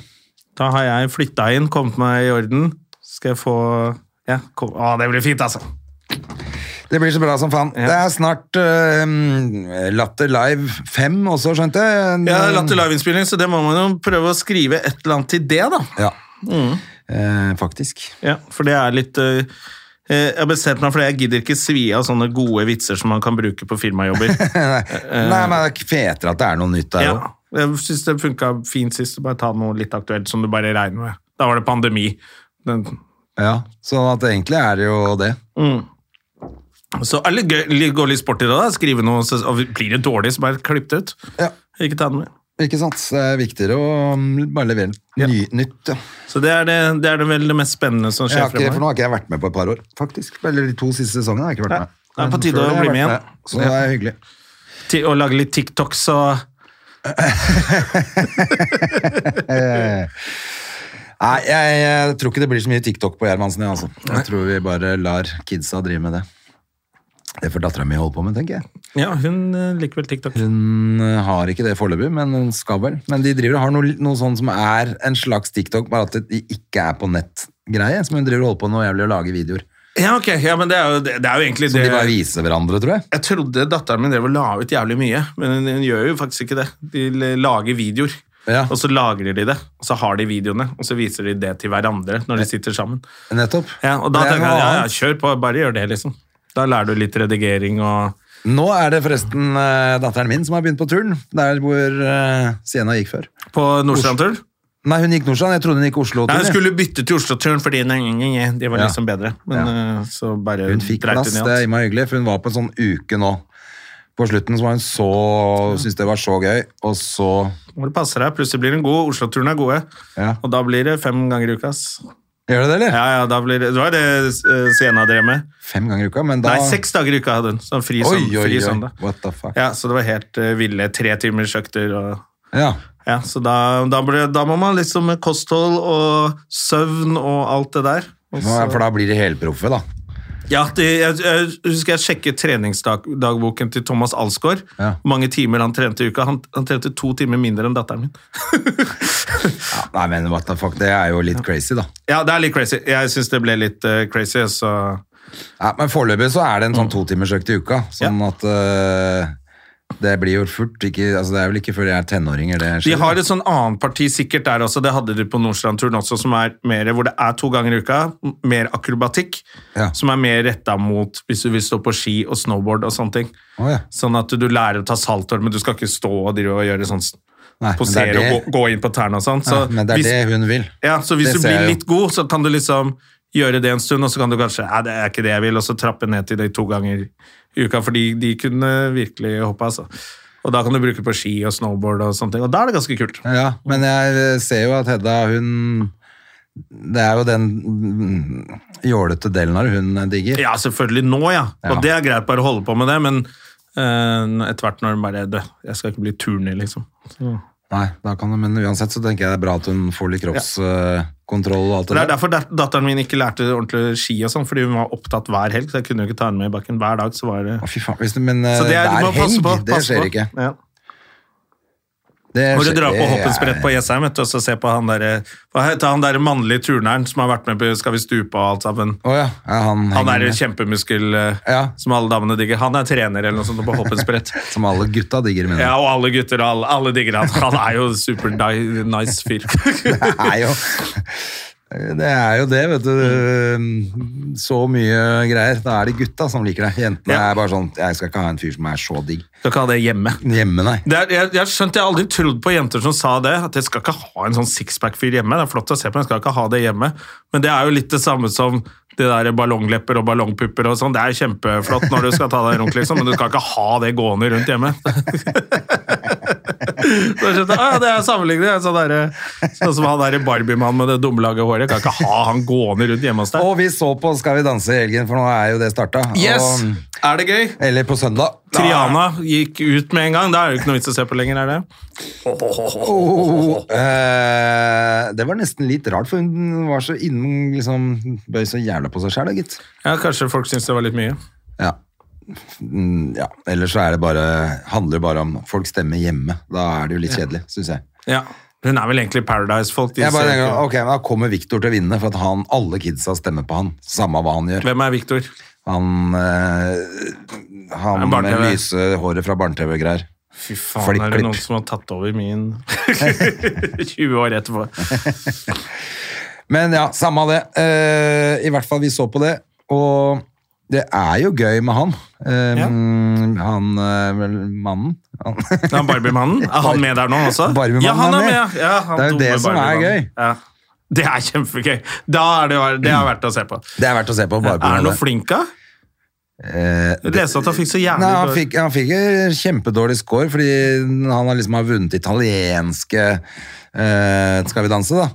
A: Da har jeg flytta inn, kommet meg i orden. Skal jeg få Ja, kom. Å, det blir fint, altså.
B: Det blir så bra som faen. Det er snart eh, Latter Live 5 også, skjønte jeg.
A: Jeg har latt til liveinnspilling, så det må man jo prøve å skrive et eller annet til det, da.
B: Ja. Eh, faktisk.
A: Ja, for det er litt eh, eh, Jeg har bestemt meg for det. Jeg gidder ikke svi av sånne gode vitser som man kan bruke på firmajobber.
B: Nei, men det er fetere at det er noe nytt der òg.
A: Eh, Ja, jeg synes det funka fint sist. Bare ta noe litt aktuelt som du bare regner med. Da var det pandemi. Den, Mm.
B: Ja. Sånn at egentlig er det jo det.
A: så alle gøy, gå litt sport i det, da. Skrive noe, så, og blir det dårlig, så bare klipp det ut.
B: Ja.
A: Ikke ta den med.
B: Ikke sant? Så Det er viktigere å mm, bare levere ny, nytt. Ja.
A: Så det er, det, det er det vel det mest spennende som
B: Jeg
A: skjer
B: har ikke, for nå
A: fremover.
B: har ikke jeg vært med på et par år, faktisk. Eller de to siste sesongene har jeg ikke vært med.
A: det er på
B: Men
A: tide
B: før
A: å
B: det har
A: bli
B: jeg
A: med
B: vært
A: igjen.
B: Så det er hyggelig.
A: Ti- Å lage litt TikToks og
B: Nei, jeg, jeg tror ikke det blir så mye TikTok på Gjermansen, jeg, altså. Jeg tror vi bare lar kidsa drive med det. Det får dattera mi holde på med, tenker jeg.
A: Ja, hun eh, liker vel TikTok.
B: Hun eh, har ikke det foreløpig, men hun skal vel. Men de driver og har noe, noe sånn som er en slags TikTok, bare at de ikke er på nett-greie. Som hun driver og holder på noe jævlig og lager videoer.
A: Ja, ok. Ja, men det er jo, det, det er jo egentlig
B: Som
A: det
B: de bare viser hverandre, tror jeg.
A: Jeg trodde datteren min drev og la ut jævlig mye, men hun, hun gjør jo faktisk ikke det. De l- lager videoer,
B: Ja.
A: og så lagrer de det. Og så har de videoene, og så viser de det til hverandre når de sitter sammen.
B: Nettopp.
A: Ja, og da
B: Det er
A: tenker
B: noe
A: jeg, ja, ja,
B: annet.
A: kjør på, bare gjør det, liksom. Da lærer du litt redigering og
B: Nå er det forresten eh, datteren min som har begynt på turen, der hvor eh, Sienna gikk før.
A: På Nordstrandturen?
B: Nei, hun gikk Nordstrand. Jeg trodde hun gikk Oslo.
A: Nei,
B: Trine.
A: hun skulle bytte til Oslo-turen fordi nei, nei, nei, de var
B: Ja.
A: liksom bedre. Men eh, så bare
B: Hun fikk
A: dreit
B: plass,
A: hun i alt.
B: det er innmari hyggelig, for hun var på en sånn uke nå. På slutten så var hun så Syntes det var så gøy, og så
A: Må du passe deg, plutselig blir den god. Oslo-turene er gode.
B: Ja.
A: Og da blir det fem ganger i uka. ass.
B: Gjør det det, eller?
A: Ja, ja, da blir det, det var det eh, Sienna drev med.
B: Fem ganger i uka, men da
A: Nei, seks dager i uka hadde hun. Sånn fri, søn- fri søndag.
B: What the fuck. Ja.
A: Ja, så det var helt eh, ville tre timers økter og Ja, så da, da, ble, da må man liksom med kosthold og søvn og alt det der. Og
B: Nå,
A: så-
B: for da blir de helproffe, da.
A: Ja, det, jeg, jeg husker jeg sjekket treningsdagboken til Thomas Alsgaard.
B: Ja.
A: Hvor mange timer han trente i uka. Han, han trente to timer mindre enn datteren min.
B: Ja, nei, men what the fuck, det er jo litt crazy, da.
A: Ja, det er litt crazy. Jeg syns det ble litt eh, crazy, så
B: Ja, men foreløpig så er det en
A: Mm.
B: sånn totimersøkt i uka, sånn at eh, det blir jo fort ikke, altså Det er vel ikke før jeg er tenåring eller det
A: De
B: skjer,
A: har
B: da.
A: et sånn annet parti sikkert der også, det hadde de på Nordstrand-turen også, som er mer, hvor det er to ganger i uka, m- mer akrobatikk,
B: Ja.
A: som er mer retta mot hvis du vil stå på ski og snowboard og sånne ting.
B: Å, ja.
A: Sånn at du lærer å ta saltår, men du skal ikke stå og drive og gjøre sånn
B: Nei, men det er
A: Posere og
B: det-
A: gå, gå inn på tærne og sånn. Så
B: ja, men det er
A: hvis,
B: det hun vil.
A: Ja, så hvis
B: Det
A: du
B: ser
A: blir
B: jeg jo.
A: litt god, så kan du liksom gjøre det en stund, og så kan du kanskje Nei, det er ikke det jeg vil, og så trappe ned til det to ganger i uka, fordi de kunne virkelig hoppe, altså. Og da kan du bruke på ski og snowboard og sånne ting, og da er det ganske kult.
B: Ja, men jeg eh, ser jo at Hedda, hun Det er jo den mm, jålete delen av det hun digger.
A: Ja, selvfølgelig nå, ja. Og
B: Ja.
A: det er greit bare å holde på med det, men eh, etter hvert når du bare dø, jeg skal ikke bli turner, liksom.
B: Sånn. Nei, da kan hun, men uansett så tenker jeg det er bra at hun får litt kroppskontroll og alt
A: Det
B: det
A: er derfor dat- datteren min ikke lærte ordentlig ski og sånn, fordi hun var opptatt hver helg, så jeg kunne jo ikke ta henne med i bakken hver dag, så var det...
B: Å, fy faen, hvis du, men eh,
A: Så det er, du må
B: hver
A: passe
B: helg,
A: på.
B: det
A: passe
B: skjer
A: på.
B: ikke.
A: Ja.
B: Det
A: Når du
B: skjer-
A: drar på
B: det er-
A: hoppensprett på Jessheim, vet du, og så se på han der, hva heter han der mannlige turneren som har vært med på Skal vi stupe og alt sammen.
B: Å ja, ja, han,
A: Han
B: henger
A: er
B: med,
A: kjempemuskel eh,
B: Ja.
A: som alle damene digger. Han er trener eller noe sånt på hoppensprett.
B: som alle gutta digger, mener
A: Ja, og alle gutter og alle, alle digger han. Han er jo super di- nice fyr.
B: Det er jo det, er jo det vet du. Så mye greier. Da er det gutta som liker deg. Jentene
A: Ja.
B: er bare sånn Jeg skal ikke ha en fyr som er så digg.
A: Skal ikke ha det hjemme.
B: Hjemme, nei.
A: Det er, jeg, jeg skjønte jeg har aldri trodd på jenter som sa det. At jeg skal ikke ha en sånn sixpack-fyr hjemme. Det er flott å se på, men jeg skal ikke ha det hjemme. Men det er jo litt det samme som det der ballonglepper og ballongpupper og sånn. Det er kjempeflott når du skal ta deg en runk, liksom, men du skal ikke ha det gående rundt hjemme. Så jeg skjønte, ah, ja, det er sammenlignet. Sånn, derre- sånn som han der Barbie-mannen med det dumme laget håret. Jeg kan ikke ha han gående rundt hjemme hos deg.
B: Og vi så på Skal vi danse i helgen, for nå er jo det starta.
A: Yes!
B: Og,
A: Er det gøy?
B: eller på søndag.
A: Triana gikk ut med en gang. Da er det jo ikke noe vits å se på lenger, er det?
B: Oh. Eh, det var nesten litt rart, for hun var så innen liksom, Bøy så jævla på seg sjæl, da, gitt.
A: Ja, Kanskje folk syns det var litt mye.
B: Ja. Mm, ja. Ellers så er det bare, handler det bare om folk stemmer hjemme. Da er det jo litt kjedelig, syns jeg.
A: Ja. Hun er vel egentlig Paradise-folk. de
B: Jeg bare
A: ser
B: tenker,
A: ikke-
B: ok, men Da kommer Victor til å vinne, for at han, alle kidsa stemmer på han. Samme hva han gjør.
A: Hvem er Victor?
B: Han, eh, han
A: En
B: med
A: barne-TV.
B: lyse håret fra barne-TV-greier.
A: Fy faen,
B: Flipp,
A: er det
B: klipp.
A: noen som har tatt over min 20 år etterpå?
B: Men ja, samme av det. Eh, I hvert fall, vi så på det. Og det er jo gøy med han. Eh,
A: Ja.
B: Han eh, vel, mannen. Han.
A: Det er Barbie-mannen. Er han med der nå også?
B: Barbie-mannen
A: ja, han er
B: er
A: med.
B: med.
A: ja. Ja, han
B: Det er jo
A: dumme
B: det som er
A: Barbie-mannen.
B: gøy.
A: Ja. Det er kjempegøy. Da er det, jo- det er verdt å se på.
B: Det er verdt å se på. Bare på
A: Er han
B: grunn
A: noe
B: av det.
A: flink, da?
B: Eh,
A: Jeg leste at han fikk så jævlig
B: Nei, han
A: dårlig-
B: fikk, han fikk en kjempedårlig score, fordi han har liksom har vunnet italienske eh, Skal vi danse, da?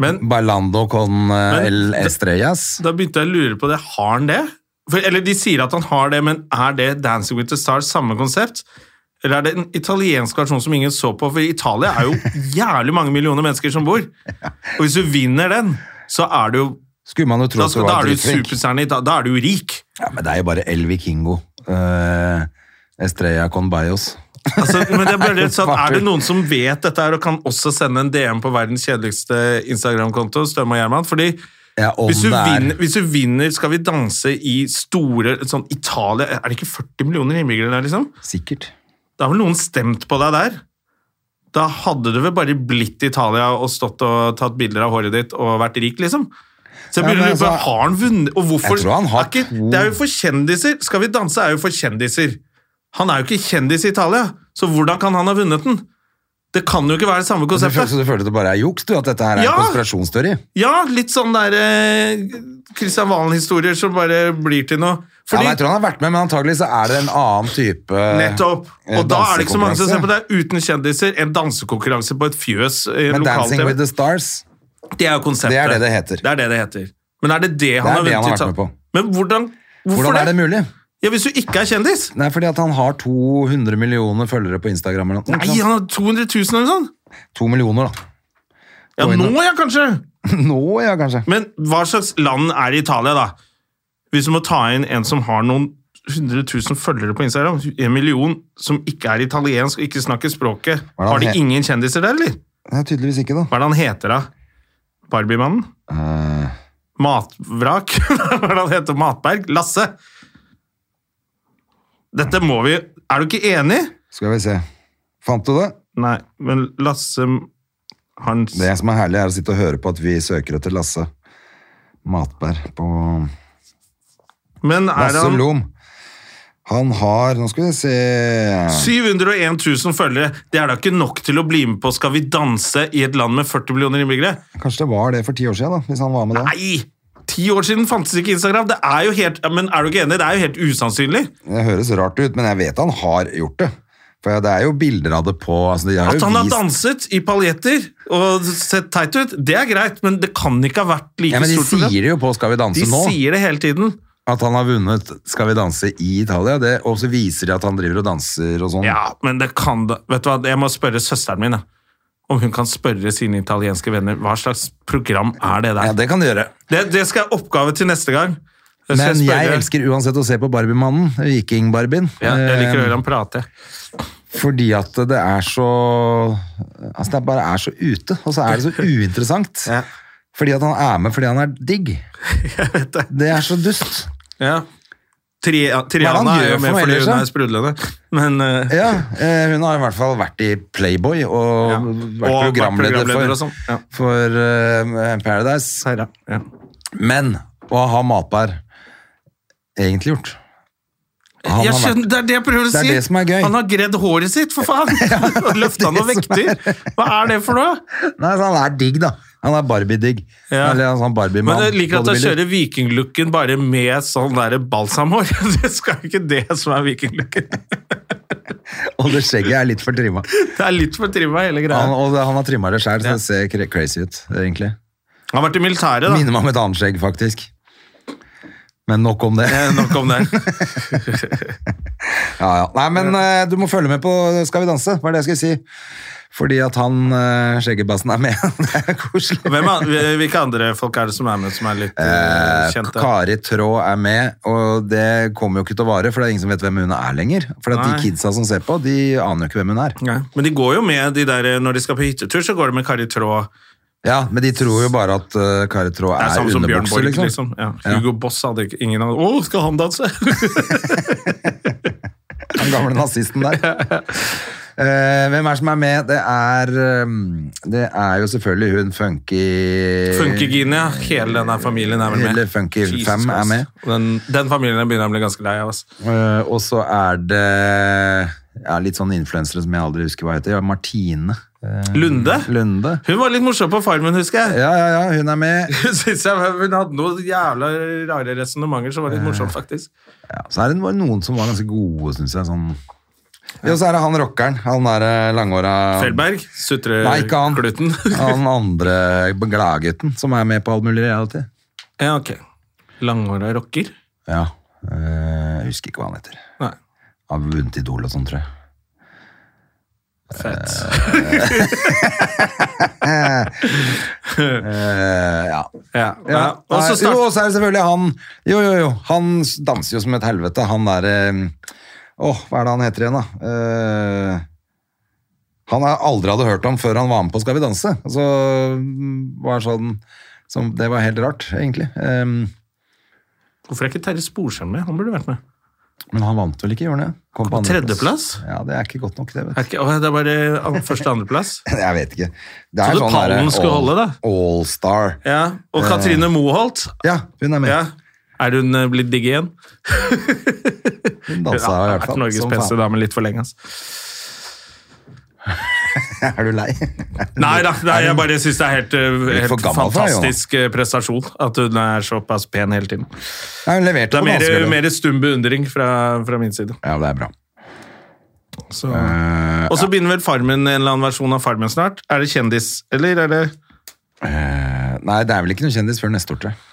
A: Men
B: Bailando con eh,
A: Men-
B: el Estrellas.
A: da begynte jeg å lure på det. Har han det? For, eller de sier at han har det, men er det Dancing with the Stars samme konsept? Eller er det en italiensk versjon som ingen så på? For i Italia er jo jævlig mange millioner mennesker som bor. Og hvis du vinner den, så er du jo
B: Skulle man jo tro
A: da,
B: at du
A: skal, da
B: var
A: er du
B: dritflink.
A: superstjerne i Italia. Da er du jo rik.
B: Ja, men det er jo bare El Vikingo. Eh, Estrella con Bajos.
A: Altså, men det er, bare rett, sånn at er det noen som vet dette her, og kan også sende en DM på verdens kjedeligste Instagram-konto, Støm og Gjerman? Fordi
B: Ja, om
A: hvis du,
B: det er-
A: vinner, hvis du vinner Skal vi danse i store sånn Italia Er det ikke 40 millioner innbyggere der, liksom?
B: Sikkert.
A: Da har vel noen stemt på deg der? Da hadde du vel bare blitt i Italia og stått og tatt bilder av håret ditt og vært rik, liksom? Så jeg
B: Ja,
A: begynner
B: men
A: å lure på,
B: altså-
A: Har han vunnet? Og hvorfor?
B: Jeg tror han har
A: er ikke,
B: to-
A: Det er jo for kjendiser. Skal vi danse er jo for kjendiser. Han er jo ikke kjendis i Italia, så hvordan kan han ha vunnet den? Det kan jo ikke være det samme
B: Du føler,
A: konseptet.
B: så du føler at det bare er juks, du? At dette her er
A: Ja!
B: en konspirasjonsteori?
A: Ja, litt sånn der eh, Christian Valen-historier som bare blir til noe.
B: Ja, men jeg tror han har vært med, men antagelig så er det en annen type
A: Nettopp.
B: eh,
A: Og da er det ikke så mange som ser på
B: dansekonkurranse.
A: det uten kjendiser. En dansekonkurranse på et fjøs i
B: eh, Men Dancing
A: lokal-TV.
B: with the Stars
A: Det er jo konseptet.
B: Det er det det heter.
A: Det er det det heter. Men er det det han
B: er
A: har
B: det han
A: vunnet?
B: har
A: til
B: vært med på.
A: sammen? Men hvordan Hvorfor
B: Hvordan er det
A: det?
B: mulig?
A: Ja, Hvis du ikke er kjendis?
B: Nei, fordi at han har 200 millioner følgere på Instagram. Eller noe.
A: Nei, han har 200 000 eller noe sånt.
B: To millioner, da.
A: Ja,
B: Oi,
A: nå
B: nå-
A: ja, kanskje.
B: Nå, ja, kanskje.
A: Men hva slags land er det i Italia, da? Hvis du må ta inn en som har noen 100 000 følgere på Instagram, en million som ikke er italiensk og ikke snakker språket,
B: Hva er det
A: har de
B: han he-
A: ingen kjendiser der, eller?
B: Nei, tydeligvis ikke, da.
A: Hva er det han heter, da? Barbiemannen?
B: Eh,
A: Matvrak? Hva er det han heter? Matberg? Lasse? Dette må vi Er du ikke enig?
B: skal vi se. Fant du det?
A: Nei, men Lasse han,
B: Det som er herlig, er å sitte og høre på at vi søker etter Lasse Matberg på
A: Men er
B: Lasse
A: han
B: Lom. Han har Nå skal vi se
A: 701 000 følgere. Det er da ikke nok til å bli med på Skal vi danse i et land med 40 millioner innbyggere?
B: Kanskje det var det for ti år siden, da, hvis han var med da.
A: Nei! Ti år siden fantes ikke Instagram. Det er jo helt, ja, men er du ikke enig? Det er jo helt usannsynlig.
B: Det høres rart ut, men jeg vet han har gjort det. For det er jo bilder av det på altså de har
A: At
B: jo
A: han har
B: vist-
A: danset i paljetter og sett teit ut, det er greit, men det kan ikke ha vært like
B: ja, men De
A: stort problem.
B: sier det jo på Skal vi danse
A: De
B: nå,
A: sier det hele tiden.
B: at han har vunnet Skal vi danse i Italia. Det, og så viser de at han driver og danser og sånn.
A: Ja, men det kan da Vet du hva, jeg må spørre søsteren min, da. Om hun kan spørre sine italienske venner hva slags program er det der.
B: Ja, det kan du gjøre.
A: det, det skal jeg oppgave til neste gang. Det skal
B: Men jeg
A: spørre-
B: elsker uansett å se på Barbiemannen, Viking-Barbien.
A: ja, Jeg liker
B: Eh,
A: å høre ham prate.
B: Fordi at det er så Altså, det bare er så ute, og så er det så uinteressant.
A: Ja.
B: Fordi at han er med fordi han er digg.
A: Jeg vet det.
B: Det er så dust.
A: Ja. Tri
B: Hva er det
A: Triana
B: han
A: er jo
B: gjør for
A: med
B: noe
A: fordi
B: ellers,
A: hun
B: da?
A: er sprudlende, men eh,
B: Ja, eh, hun har i hvert fall vært i Playboy og
A: Ja.
B: vært
A: Og vært
B: programleder,
A: programleder og
B: for,
A: sånn, ja.
B: for eh, Paradise.
A: Herre, ja.
B: Men hva har Matberg egentlig gjort? Han
A: jeg
B: har vært-
A: skjønner, Det er det jeg prøver å
B: Det er
A: si!
B: det som er gøy.
A: Han har gredd håret sitt, for faen! Løfta noen
B: det som
A: vekter! Hva er det for noe?
B: Nei, så han er digg, da. Han er Barbie-digg.
A: Ja.
B: Eller en sånn Barbie-mann.
A: Men jeg liker at han
B: bodybuilder.
A: kjører vikinglooken bare med sånn der balsamhår. Det skal ikke det som er vikinglooken.
B: Og det skjegget er litt for trimma.
A: Det er litt for trimma, hele greia.
B: Han,
A: Han,
B: og det- han har trimma det sjøl, så det ser cra- crazy ut, egentlig.
A: har vært i militæret, da.
B: Minner meg om et annet skjegg, faktisk. Men nok om det.
A: Eh, Nok om det.
B: Ja, ja. Nei, men eh, du må følge med på Skal vi danse, var det jeg skulle si. Fordi at han eh, skjeggebassen er med. det er koselig.
A: Hvem er, hvilke andre folk er det som er med som er litt eh,
B: Eh,
A: kjente?
B: Kari Traa er med, og det kommer jo ikke til å vare, for det er ingen som vet hvem hun er lenger. For at
A: Nei.
B: de kidsa som ser på, de aner jo ikke hvem hun er.
A: Nei. Men de går jo med de der eh, når de skal på hyttetur, så går de med Kari Traa.
B: Ja, Men de tror jo bare at eh, Kari Traa
A: Det
B: er,
A: er samme som Bjørn
B: underbukse,
A: Borg,
B: liksom.
A: liksom. Ja. Hugo Boss hadde ikke ingen hadde, Å, skal han danse?
B: Den gamle nazisten der. Eh, hvem er det som er med? Det er eh, Det er jo selvfølgelig hun funky
A: Funkygine, ja. hele denne familien er vel med.
B: Hele Funky
A: Jesus
B: Fam er
A: Christ.
B: med.
A: Og Den, den familien jeg begynner jeg å bli ganske lei av. ass.
B: Eh, og så er det ja, litt sånn influensere som jeg aldri husker hva heter. Ja, Martine eh,
A: Lunde?
B: Lunde.
A: Hun var litt morsom på Farmen, husker jeg.
B: Ja, ja, ja, hun er med.
A: Hun synes jeg var- hun hadde noen jævla rare resonnementer som var litt morsomt, faktisk.
B: Ja, så er det var noen som var ganske gode, syns jeg. Sånn. Ja, og så er det han rockeren. Han der eh, langhåra
A: Felberg, Eh,
B: Nei, ikke han.
A: sutrekluten.
B: Han andre gladgutten som er med på all mulig reality.
A: ja, ok. Langhåra rocker?
B: Ja. eh, jeg husker ikke hva han heter.
A: Nei.
B: Han har vunnet Idol og sånn, tror jeg.
A: Fett.
B: Eh, ja.
A: Ja.
B: Ja.
A: ja. Og
B: Nei,
A: så
B: jo,
A: start...
B: og så er det selvfølgelig han Jo, jo, jo. Han danser jo som et helvete. Han der eh, Åh, hva er det han heter igjen, da? Eh, han jeg aldri hadde hørt om før han var med på Skal vi danse. Så mm, var sånn som, Det var helt rart, egentlig. Eh,
A: Hvorfor er ikke Terje Sporsem med? Han burde vært med.
B: men han vant vel ikke, gjorde han det? Kom
A: På
B: andreplass.
A: tredjeplass?
B: Ja, det er ikke godt nok, det. vet
A: Er ikke, Åh, det er bare an- første og andreplass.
B: du. Jeg vet ikke. sånn Det Eh.
A: Trodde pallen
B: derre
A: skulle holde, da.
B: All-star.
A: Ja. Og Katrine Moholt.
B: ja, hun er med.
A: Ja. Er hun eh, blitt digg igjen?
B: Hun dansa i
A: Hun har
B: hvert fall.
A: vært
B: Sånn
A: Norges
B: som
A: beste
B: faen.
A: dame litt for lenge. ass.
B: Er du lei?
A: Nei da, nei, jeg bare syns det er helt, uh,
B: Litt for
A: helt
B: gammel for deg,
A: fantastisk uh, prestasjon at hun er såpass pen hele tiden.
B: Nei, hun leverte på
A: Det er mer,
B: vanskeligere.
A: mer stum beundring fra, fra min side.
B: Ja, det er bra.
A: Så.
B: Eh,
A: Og så begynner vel Farmen en eller annen versjon av Farmen snart. Er det kjendis, eller? Er det
B: Eh, Nei, det er vel ikke noen kjendis før neste år, tror jeg.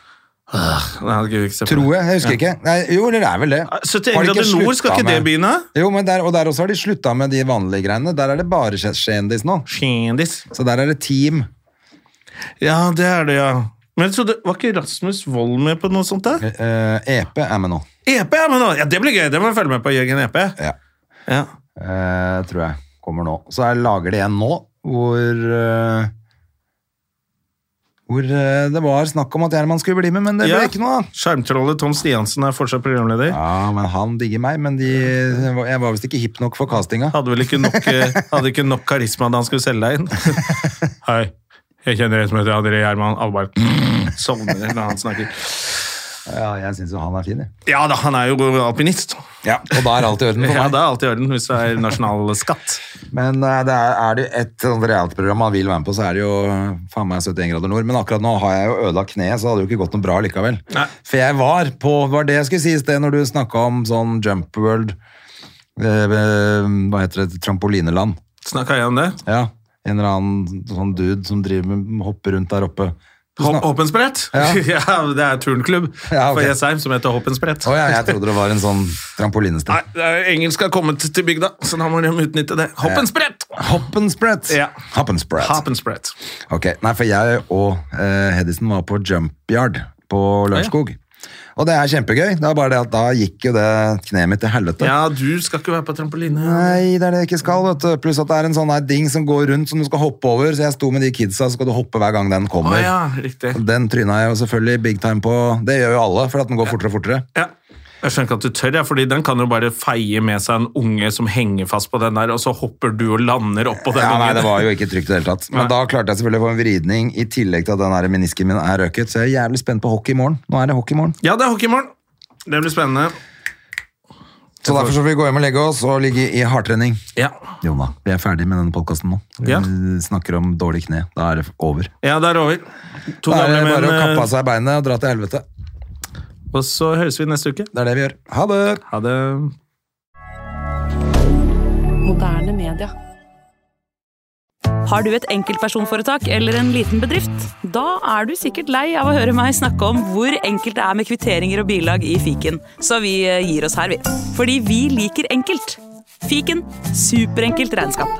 A: Nei, jeg gidder ikke se på
B: Tror
A: det.
B: jeg, jeg husker ikke. Nei, jo, eller det er vel det.
A: Ah, Så til
B: Har de
A: England
B: ikke
A: til Nord skal
B: slutta
A: ikke det
B: med-
A: begynne?
B: Jo, men der, og der også har de slutta med de vanlige greiene. Der er det bare kje- kjendis nå.
A: Kjendis.
B: Så der er det team.
A: Ja, det er det, ja. Men jeg trodde, Var ikke Rasmus Wold med på noe sånt? da?
B: Eh, EP er med nå.
A: EP er med nå! Ja, Det blir gøy! Det må jeg følge med på. Jørgen EP.
B: Ja.
A: Ja.
B: Eh, tror jeg kommer nå. Så jeg lager det en nå, hvor eh, Hvor eh, det var snakk om at Gjerman skulle bli med, men det ble
A: Ja.
B: ikke noe av.
A: Skjermtrollet Tom Stiansen er fortsatt programleder.
B: Ja, men han digger meg, men de, jeg var visst ikke hipp nok for castinga.
A: Hadde vel ikke nok, eh, hadde ikke nok karisma da han skulle selge deg inn. Hei, jeg kjenner en som heter Adrie Gjerman. Alle bare sovner når han snakker.
B: Ja, jeg syns jo han er fin, jeg.
A: Ja da, han er jo alpinist.
B: Ja, og da er alt i orden for
A: Ja,
B: meg.
A: Det er alt i orden hvis det er nasjonal skatt.
B: Men eh, det er, er det jo et sånt reality-program man vil være med på, så er det jo eh, faen meg 71 grader nord. Men akkurat nå har jeg jo ødelagt kneet, så det hadde jo ikke gått noe bra likevel.
A: Nei.
B: For jeg var på Var det jeg skulle si i sted, når du snakka om sånn Jump World eh, eh, Hva heter det? Trampolineland.
A: Snakka jeg om det?
B: Ja. En eller annen sånn dude som driver med hopper rundt der oppe. Du
A: Hopp-
B: snak-
A: Hoppensprett? Ja.
B: Ja.
A: det er turnklubb
B: Ja, ok.
A: for Jessheim som heter Hoppensprett.
B: Å ja, jeg trodde det var en sånn
A: Nei,
B: trampolinested.
A: det er engelsk har kommet til bygda, så da må de utnytte det. Hoppensprett!
B: Hoppensprett!
A: Ja.
B: Hoppensprett.
A: Hoppensprett.
B: Ok, nei, for jeg og eh, Hedisen var på Jumpyard på Lørenskog. Og det er kjempegøy. Det er bare det at da gikk jo det kneet mitt til helvete.
A: Ja, du skal ikke være på trampoline.
B: Nei, det er det jeg ikke skal, vet du. Pluss at det er en sånn her ding som går rundt som du skal hoppe over. Så jeg sto med de kidsa, så skal du hoppe hver gang den
A: Å
B: kommer.
A: ja, riktig.
B: Og Den tryna jeg jo selvfølgelig big time på. Det gjør jo alle, for at den går fortere og fortere.
A: Ja. Jeg skjønner ikke at du tør, ja, fordi den kan jo bare feie med seg en unge som henger fast på den der, og så hopper du og lander oppå den
B: Ja, nei,
A: ungen.
B: det var jo ikke trygt i det hele tatt. Men
A: Nei.
B: da klarte jeg selvfølgelig å få en vridning, i tillegg til at den her menisken min er røket. Så jeg er jævlig spent på hockey i morgen. Nå er det hockey i morgen.
A: Ja, det er hockey i morgen. Det blir spennende.
B: Så derfor så får vi gå hjem og legge oss og ligge i hardtrening.
A: Ja,
B: Jonna, vi er ferdig med denne podkasten nå. Vi
A: Ja.
B: snakker om dårlig kne. Da er det over.
A: ja det er over. To
B: Da er det
A: gamle
B: bare å kappe
A: menn,
B: av seg beinet og dra til helvete.
A: eh, og så høres vi neste uke.
B: Det er det vi gjør. Ha det!
A: Ha det.
C: Moderne media.
D: Har du et enkeltpersonforetak eller en liten bedrift? Da er du sikkert lei av å høre meg snakke om hvor enkelt det er med kvitteringer og bilag i fiken, så eh, vi gir oss her, vi. Fordi vi liker enkelt. Fiken superenkelt regnskap.